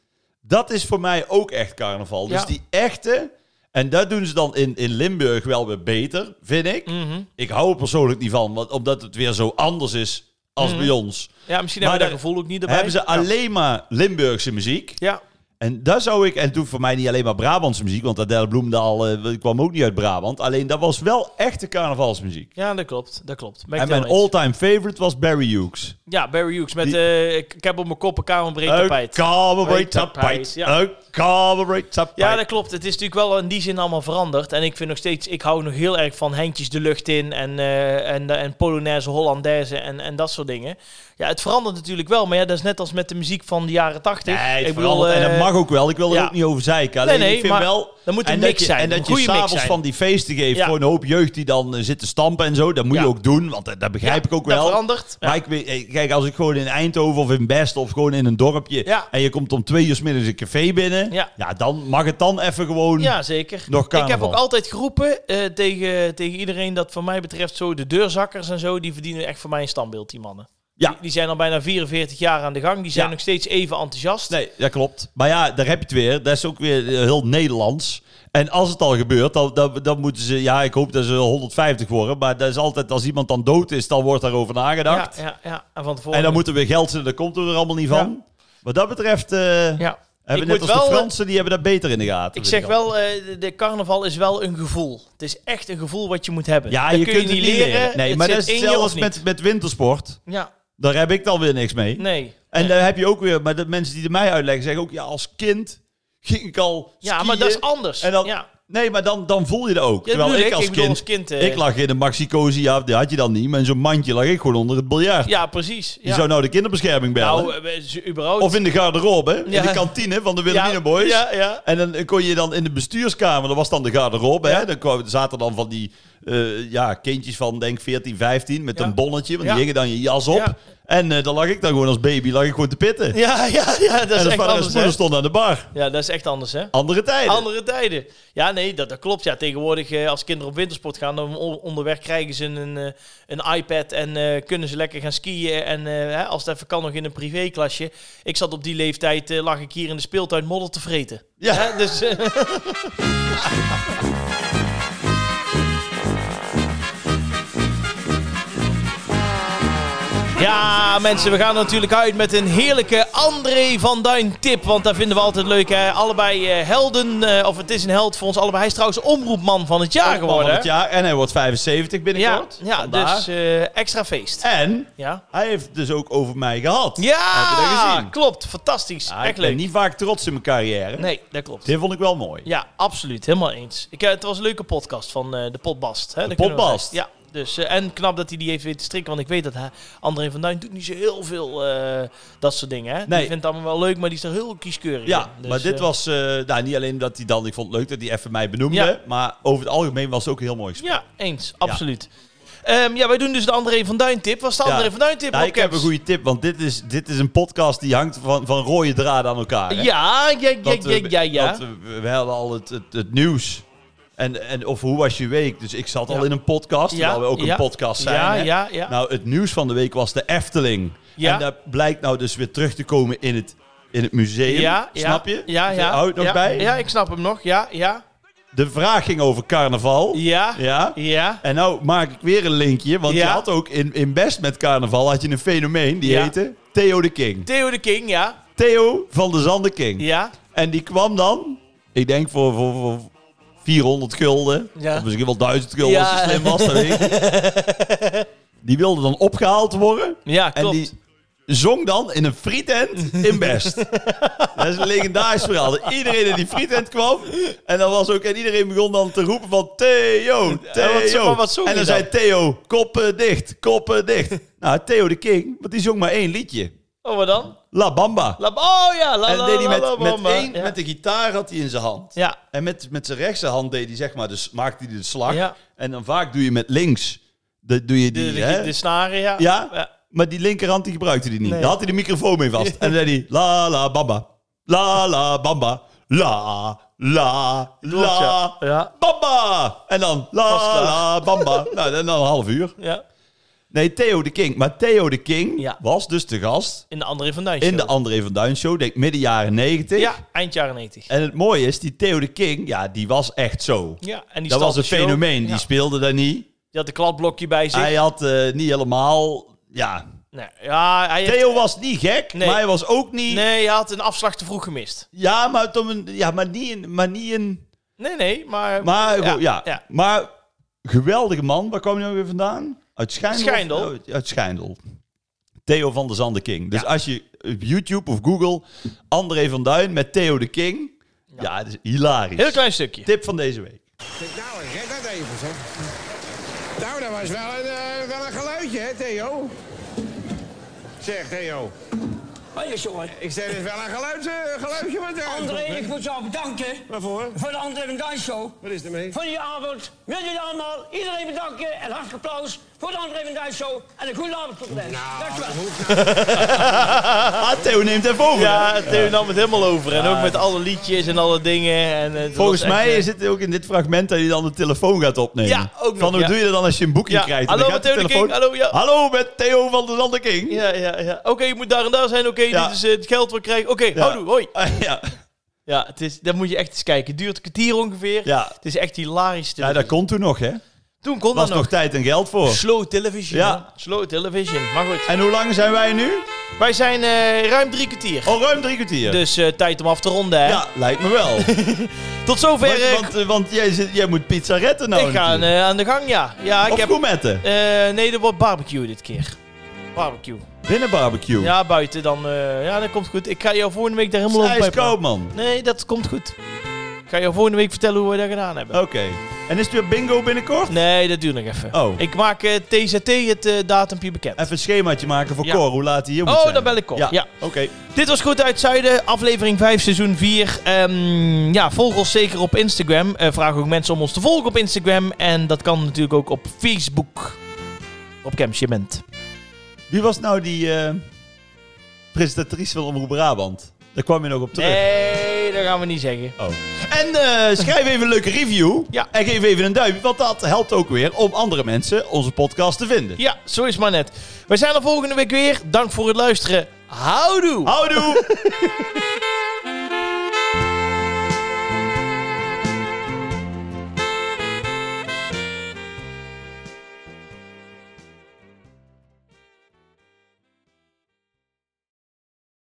Speaker 2: Dat is voor mij ook echt carnaval.
Speaker 1: Ja.
Speaker 2: Dus die echte... En dat doen ze dan in, in Limburg wel weer beter, vind ik.
Speaker 1: Mhm.
Speaker 2: Ik hou er persoonlijk niet van, want, omdat het weer zo anders is als bij ons.
Speaker 1: Ja, misschien hebben we
Speaker 2: Maar
Speaker 1: dat
Speaker 2: daar
Speaker 1: gevoel ook niet Mm. erbij.
Speaker 2: Hebben ze alleen maar Limburgse muziek.
Speaker 1: Ja.
Speaker 2: En daar zou ik, en toen voor mij niet alleen maar Brabantse muziek, want Adele Bloemendaal eh, kwam ook niet uit Brabant. Alleen dat was wel echte carnavalsmuziek.
Speaker 1: ja, dat klopt. Dat klopt. Ben ik
Speaker 2: en
Speaker 1: het
Speaker 2: mijn
Speaker 1: helemaal eens.
Speaker 2: all-time favorite was Barry Hughes.
Speaker 1: Ja, Barry Hughes met
Speaker 2: Die-
Speaker 1: eh, ik, ik heb op mijn kop een kamerbreed tapijt.
Speaker 2: Een
Speaker 1: Breed
Speaker 2: carbonated
Speaker 1: tapijt,
Speaker 2: tapijt.
Speaker 1: ja.
Speaker 2: Een carbonated tapijt.
Speaker 1: Ja, dat klopt. Het is natuurlijk wel in die zin allemaal veranderd. En ik vind nog steeds, ik hou nog heel erg van handjes de lucht in en, eh, en, en Polonaise, Hollandaise en, en dat soort dingen. Ja, het verandert natuurlijk wel, maar ja, dat is net als met de muziek van de jaren tachtig.
Speaker 2: Nee, het
Speaker 1: ik
Speaker 2: verandert.
Speaker 1: eh,
Speaker 2: en dat mag ook wel. Ik wil er
Speaker 1: ja.
Speaker 2: ook niet over zeiken. Alleen
Speaker 1: Nee, nee,
Speaker 2: ik vind
Speaker 1: maar
Speaker 2: wel...
Speaker 1: er moet een
Speaker 2: en
Speaker 1: mix
Speaker 2: dat je,
Speaker 1: zijn,
Speaker 2: En
Speaker 1: een
Speaker 2: dat je
Speaker 1: goede mix
Speaker 2: s'avonds
Speaker 1: zijn.
Speaker 2: van die feesten geeft
Speaker 1: Ja.
Speaker 2: voor een hoop jeugd die dan eh, zit te stampen en zo. Dat moet
Speaker 1: Ja.
Speaker 2: je ook doen, want dat, dat begrijp ik ook
Speaker 1: dat
Speaker 2: wel.
Speaker 1: verandert. Ja.
Speaker 2: Maar ik weet, eh, kijk, als ik gewoon in Eindhoven of in Best of gewoon in een dorpje...
Speaker 1: Ja.
Speaker 2: en je komt om twee uur 's middags een café binnen...
Speaker 1: Ja.
Speaker 2: Ja. dan mag het dan even gewoon...
Speaker 1: Ja, zeker.
Speaker 2: Nog
Speaker 1: ik heb
Speaker 2: carnaval.
Speaker 1: ook altijd geroepen eh, tegen, tegen iedereen dat van mij betreft zo de deurzakkers en zo, die verdienen echt voor mij een standbeeld, die mannen.
Speaker 2: Ja.
Speaker 1: Die, die zijn al bijna 44 jaar aan de gang, die zijn
Speaker 2: Ja.
Speaker 1: nog steeds even enthousiast.
Speaker 2: Nee, dat klopt. Maar ja, daar heb je het weer. Dat is ook weer eh, heel Nederlands. En als het al gebeurt, dan, dan, dan moeten ze... Ja, ik hoop dat ze 150 worden. Maar dat is altijd, als iemand dan dood is, dan wordt daarover
Speaker 1: ja,
Speaker 2: nagedacht.
Speaker 1: ja, ja. En van tevoren.
Speaker 2: En dan moet er weer geld zijn, daar komt er weer allemaal niet van. Wat dat betreft... eh,
Speaker 1: ja.
Speaker 2: Hebben
Speaker 1: Ik
Speaker 2: net
Speaker 1: moet
Speaker 2: als de
Speaker 1: wel, eh,
Speaker 2: Fransen, die hebben dat beter in de gaten.
Speaker 1: Ik
Speaker 2: vind
Speaker 1: zeg wel, eh, de- de carnaval is wel een gevoel. Het is echt een gevoel wat je moet hebben.
Speaker 2: Ja,
Speaker 1: Dat
Speaker 2: je kunt het niet leren. Nee,
Speaker 1: Het
Speaker 2: maar
Speaker 1: zit
Speaker 2: dat is
Speaker 1: in je
Speaker 2: hetzelfde
Speaker 1: of
Speaker 2: als
Speaker 1: niet.
Speaker 2: met, met wintersport.
Speaker 1: Ja,
Speaker 2: Daar heb ik dan weer niks mee.
Speaker 1: nee.
Speaker 2: En
Speaker 1: Nee.
Speaker 2: daar heb je ook weer... Maar de mensen die het mij uitleggen, zeggen ook... Ja, als kind ging ik al
Speaker 1: ja, maar dat is
Speaker 2: skiën.
Speaker 1: anders.
Speaker 2: En dan,
Speaker 1: ja.
Speaker 2: Nee, maar dan, dan voel je dat ook.
Speaker 1: Ja, dat
Speaker 2: Terwijl
Speaker 1: bedoel
Speaker 2: ik
Speaker 1: ik.
Speaker 2: als
Speaker 1: Ik bedoel
Speaker 2: kind...
Speaker 1: als kind, eh.
Speaker 2: ik lag in een maxi-cozy, ja, die had je dan niet. Maar in zo'n mandje lag ik gewoon onder het biljart.
Speaker 1: ja, precies.
Speaker 2: Je
Speaker 1: Ja.
Speaker 2: zou nou de kinderbescherming bellen.
Speaker 1: nou, eh, ze- überhaupt.
Speaker 2: of in de garderobe, hè,
Speaker 1: Ja.
Speaker 2: in de kantine van de Wilhelminaboys.
Speaker 1: Ja, ja.
Speaker 2: En dan kon je dan in de bestuurskamer, dat was dan de garderobe.
Speaker 1: Ja.
Speaker 2: Hè? Dan kwam, zaten dan van die eh, ja, kindjes van denk 14, 15 met
Speaker 1: Ja.
Speaker 2: een bonnetje. Want
Speaker 1: Ja.
Speaker 2: die hingen dan je jas op.
Speaker 1: Ja.
Speaker 2: En eh dan lag ik dan gewoon als baby lag ik gewoon te pitten.
Speaker 1: Ja, ja, ja, dat
Speaker 2: en
Speaker 1: is echt
Speaker 2: de vader en de
Speaker 1: anders. hè?
Speaker 2: moeder stonden aan de bar.
Speaker 1: Ja, dat is echt anders, hè?
Speaker 2: Andere tijden.
Speaker 1: Andere tijden. Ja, nee, dat, dat klopt. Ja, tegenwoordig eh, als kinderen op wintersport gaan, dan on- onderweg krijgen ze een, eh, een iPad en eh, kunnen ze lekker gaan skiën. En eh, hè, als het even kan nog in een privéklasje. Ik zat op die leeftijd, eh, lag ik hier in de speeltuin modder te vreten.
Speaker 2: Ja.
Speaker 1: Hè, dus, eh, Ja, mensen, we gaan natuurlijk uit met een heerlijke André van Duin tip. Want daar vinden we altijd leuk. Hè? Allebei eh, helden, eh, of het is een held voor ons allebei. Hij is trouwens omroepman van het jaar
Speaker 2: Man van
Speaker 1: geworden.
Speaker 2: het
Speaker 1: hè?
Speaker 2: jaar. En hij wordt 75 binnenkort.
Speaker 1: ja, ja
Speaker 2: Vandaar.
Speaker 1: dus eh, extra feest.
Speaker 2: En
Speaker 1: Ja,
Speaker 2: hij heeft het dus ook over mij gehad. Heb je dat
Speaker 1: ja
Speaker 2: gezien?
Speaker 1: klopt. Fantastisch.
Speaker 2: Ja, ik
Speaker 1: Echt
Speaker 2: ben
Speaker 1: leuk.
Speaker 2: niet vaak trots in mijn carrière.
Speaker 1: Nee, dat klopt.
Speaker 2: Dit vond ik wel mooi.
Speaker 1: Ja, absoluut. Helemaal eens. Ik, eh, het was een leuke podcast van eh, de Potbast. Hè? De
Speaker 2: Potbast.
Speaker 1: Ja. Dus, eh, en knap dat hij die heeft weten te strikken. Want ik weet dat hè, André van Duin doet niet zo heel veel eh, dat soort dingen. Hè?
Speaker 2: Nee.
Speaker 1: Die vindt het allemaal wel leuk, maar die is er heel kieskeurig
Speaker 2: Ja,
Speaker 1: in. Dus,
Speaker 2: maar dit
Speaker 1: eh,
Speaker 2: was eh, nou, niet alleen dat hij dan... Ik vond het leuk dat hij even mij benoemde.
Speaker 1: Ja.
Speaker 2: Maar over het algemeen was het ook een heel mooi gesprek.
Speaker 1: Ja, eens. Absoluut. Ja, ja wij doen dus de André van Duin tip. Wat is de
Speaker 2: Ja.
Speaker 1: André van Duin tip?
Speaker 2: Nou, ik heb
Speaker 1: Hopkins?
Speaker 2: een goede tip, want dit is, dit is een podcast die hangt van, van rode draden aan elkaar. hè?
Speaker 1: Ja, ja, ja,
Speaker 2: Want,
Speaker 1: ja,
Speaker 2: eh,
Speaker 1: ja, ja.
Speaker 2: want, eh, we hadden al het, het, het nieuws. En, en, of hoe was je week? Dus ik zat
Speaker 1: Ja.
Speaker 2: al in een podcast, terwijl we ook
Speaker 1: ja.
Speaker 2: een podcast zijn.
Speaker 1: Ja,
Speaker 2: hè?
Speaker 1: ja, ja.
Speaker 2: Nou, het nieuws van de week was de Efteling.
Speaker 1: Ja.
Speaker 2: En dat blijkt nou dus weer terug te komen in het, in het museum.
Speaker 1: ja, ja,
Speaker 2: Snap je? Dus
Speaker 1: Ja, ja.
Speaker 2: Houdt nog
Speaker 1: ja,
Speaker 2: bij?
Speaker 1: Ja, ik snap hem nog. Ja, ja.
Speaker 2: De vraag ging over carnaval.
Speaker 1: Ja.
Speaker 2: Ja.
Speaker 1: Ja.
Speaker 2: En nou maak ik weer een linkje, want
Speaker 1: Ja.
Speaker 2: je had ook in, in Best met carnaval had je een fenomeen, die
Speaker 1: Ja.
Speaker 2: heette Theo de King.
Speaker 1: Theo de King, ja.
Speaker 2: Theo van de Zanden King.
Speaker 1: Ja.
Speaker 2: En die kwam dan, ik denk voor, voor, voor 400 gulden.
Speaker 1: Ja.
Speaker 2: Of misschien wel 1000 gulden
Speaker 1: Ja.
Speaker 2: als hij slim was. dat weet ik niet. Die wilde dan opgehaald worden.
Speaker 1: Ja,
Speaker 2: En
Speaker 1: klopt.
Speaker 2: die zong dan in een frietent in Best. dat is een legendarisch verhaal. Dat Iedereen in die frietent kwam. En, dan was ook, en iedereen begon dan te roepen van Theo,
Speaker 1: En wat-
Speaker 2: Theo.
Speaker 1: maar wat zong
Speaker 2: en
Speaker 1: hij
Speaker 2: dan zei Theo, koppen dicht, koppen dicht. nou, Theo de King, want die zong maar één liedje.
Speaker 1: Oh, wat dan?
Speaker 2: La Bamba.
Speaker 1: La, oh ja, la,
Speaker 2: en
Speaker 1: la,
Speaker 2: dat deed
Speaker 1: la,
Speaker 2: hij
Speaker 1: la,
Speaker 2: met,
Speaker 1: la,
Speaker 2: met,
Speaker 1: mama.
Speaker 2: één,
Speaker 1: ja.
Speaker 2: met de gitaar had hij in zijn hand.
Speaker 1: Ja,
Speaker 2: En met, met zijn rechtse hand deed hij zeg maar, dus maakte hij de slag.
Speaker 1: Ja.
Speaker 2: En dan vaak doe je met links, de, doe je
Speaker 1: de,
Speaker 2: die,
Speaker 1: de,
Speaker 2: hè?
Speaker 1: de snaren, ja.
Speaker 2: Ja? Maar die linkerhand die gebruikte hij niet.
Speaker 1: Nee.
Speaker 2: Daar had hij de microfoon mee vast. En dan zei hij la la bamba. La la bamba. La la
Speaker 1: Klopt, ja.
Speaker 2: la
Speaker 1: Ja,
Speaker 2: bamba. En dan la
Speaker 1: Was klaar.
Speaker 2: la bamba. Nou, en dan een half uur.
Speaker 1: ja.
Speaker 2: Nee, Theo de King. Maar Theo de King
Speaker 1: Ja.
Speaker 2: was dus de gast
Speaker 1: In de André van Duin
Speaker 2: in de
Speaker 1: show.
Speaker 2: André van Duin show, denk ik midden jaren 90.
Speaker 1: Ja, eind jaren 90.
Speaker 2: En het mooie is, die Theo de King, ja, die was echt zo.
Speaker 1: Ja, en die
Speaker 2: dat
Speaker 1: stal
Speaker 2: was
Speaker 1: de
Speaker 2: een
Speaker 1: show.
Speaker 2: fenomeen. Die
Speaker 1: Ja.
Speaker 2: speelde daar niet.
Speaker 1: Die had een kladblokje bij zich.
Speaker 2: Hij had eh, niet helemaal... Ja,
Speaker 1: Nee, ja, hij heeft-
Speaker 2: Theo was niet gek,
Speaker 1: Nee.
Speaker 2: maar hij was ook niet...
Speaker 1: nee, hij had een afslag te vroeg gemist.
Speaker 2: Ja, maar, tot een, ja, maar niet een... Maar, niet een,
Speaker 1: Nee, nee, maar...
Speaker 2: maar,
Speaker 1: Ja,
Speaker 2: ja, ja.
Speaker 1: ja.
Speaker 2: maar geweldige man. Waar kwam je nou weer vandaan? Uit Schijndel? Nou,
Speaker 1: Schijndel.
Speaker 2: Uit- Uit Schijndel. Theo van der Zande King. Dus als je op YouTube of Google André van Duin met Theo de King... Ja, dat is hilarisch.
Speaker 1: Heel klein stukje.
Speaker 2: Tip van deze week.
Speaker 5: Kijk, nou, een gek dat even, zeg. Nou, dat was wel een, eh, wel een geluidje, hè, Theo? Zeg, Theo.
Speaker 6: Hoi jongen.
Speaker 5: Ik zeg, dit is wel een geluid, eh, geluidje wat er
Speaker 6: André, ik moet jou bedanken
Speaker 5: Waarvoor?
Speaker 6: voor de André van Duin Show.
Speaker 5: Wat is er mee?
Speaker 6: Voor die avond. Met jullie allemaal. Iedereen bedanken en hartelijk applaus voor de André van Duin Show. En een goede avond tot de rest.
Speaker 5: Nou,
Speaker 6: Dankjewel.
Speaker 2: Ah, Theo neemt even over.
Speaker 1: Ja, Theo nam het helemaal over. En ook met alle liedjes en alle dingen. En, eh, het
Speaker 2: Volgens
Speaker 1: was echt,
Speaker 2: mij
Speaker 1: eh,
Speaker 2: is het ook in dit fragment dat hij dan de telefoon gaat opnemen.
Speaker 1: Ja, ook nog,
Speaker 2: Van hoe
Speaker 1: ja.
Speaker 2: doe je dat dan als je een boekje
Speaker 1: Ja,
Speaker 2: krijgt? En
Speaker 1: hallo
Speaker 2: dan
Speaker 1: met
Speaker 2: gaat de
Speaker 1: Theo de
Speaker 2: telefoon-
Speaker 1: King, hallo, ja.
Speaker 2: Hallo met Theo van de Zander King.
Speaker 1: Ja, ja, ja. Oké, je moet daar en daar zijn. Oké,
Speaker 2: Ja.
Speaker 1: dit is eh, het geld wat ik krijg. Oké, houdoe, hoi.
Speaker 2: Ah, ja.
Speaker 1: Ja, het is, dan moet je echt eens kijken. Het duurt een kwartier ongeveer.
Speaker 2: Ja.
Speaker 1: Het is echt hilarisch. te
Speaker 2: ja, dat kon toen nog, hè?
Speaker 1: Toen kon
Speaker 2: Was
Speaker 1: dat
Speaker 2: nog,
Speaker 1: nog.
Speaker 2: tijd en geld voor.
Speaker 1: Slow television.
Speaker 2: Ja.
Speaker 1: Ja. Slow television. Maar goed.
Speaker 2: En hoe lang zijn wij nu?
Speaker 1: Wij zijn eh, ruim drie kwartier.
Speaker 2: Al ruim drie kwartier.
Speaker 1: Dus eh, tijd om af te ronden, hè?
Speaker 2: Oh, ja, lijkt me wel.
Speaker 1: Tot zover. eh,
Speaker 2: want, want, eh, want jij, zit, jij moet pizza retten nou
Speaker 1: ik ga
Speaker 2: natuurlijk.
Speaker 1: eh, aan de gang, ja. Ja, ik
Speaker 2: Of
Speaker 1: heb...
Speaker 2: gourmetten.
Speaker 1: eh, nee, er wordt barbecue dit keer. Barbecue.
Speaker 2: Binnen barbecue.
Speaker 1: Ja, buiten dan. eh, ja, dat komt goed. Ik ga jou volgende week daar helemaal
Speaker 2: Hij
Speaker 1: over
Speaker 2: is
Speaker 1: pepperen.
Speaker 2: koud, man.
Speaker 1: Nee, dat komt goed. Ik ga jou volgende week vertellen hoe we dat gedaan hebben.
Speaker 2: Oké. En is het weer bingo binnenkort?
Speaker 1: Nee, dat duurt nog even.
Speaker 2: Oh.
Speaker 1: Ik maak eh, TZT het eh, datumpje bekend.
Speaker 2: Even een schemaatje maken voor
Speaker 1: Ja.
Speaker 2: Cor, hoe laat hij hier moet
Speaker 1: Oh,
Speaker 2: zijn.
Speaker 1: dan bel ik Cor, ja.
Speaker 2: Oké.
Speaker 1: Dit was Goed uit Zuiden, aflevering 5, seizoen 4. Ehm, ja, volg ons zeker op Instagram. Eh, vraag ook mensen om ons te volgen op Instagram. En dat kan natuurlijk ook op Facebook. Op Campshipment.
Speaker 2: Wie was nou die eh, presentatrice van Omroep Brabant? Daar kwam je nog op terug.
Speaker 1: Nee, dat gaan we niet zeggen.
Speaker 2: Oh. En eh, schrijf even een leuke review.
Speaker 1: Ja.
Speaker 2: En geef even een duimpje, want dat helpt ook weer om andere mensen onze podcast te vinden.
Speaker 1: Ja, zo is maar net. We zijn er volgende week weer. Dank voor het luisteren. Houdoe!
Speaker 2: Houdoe!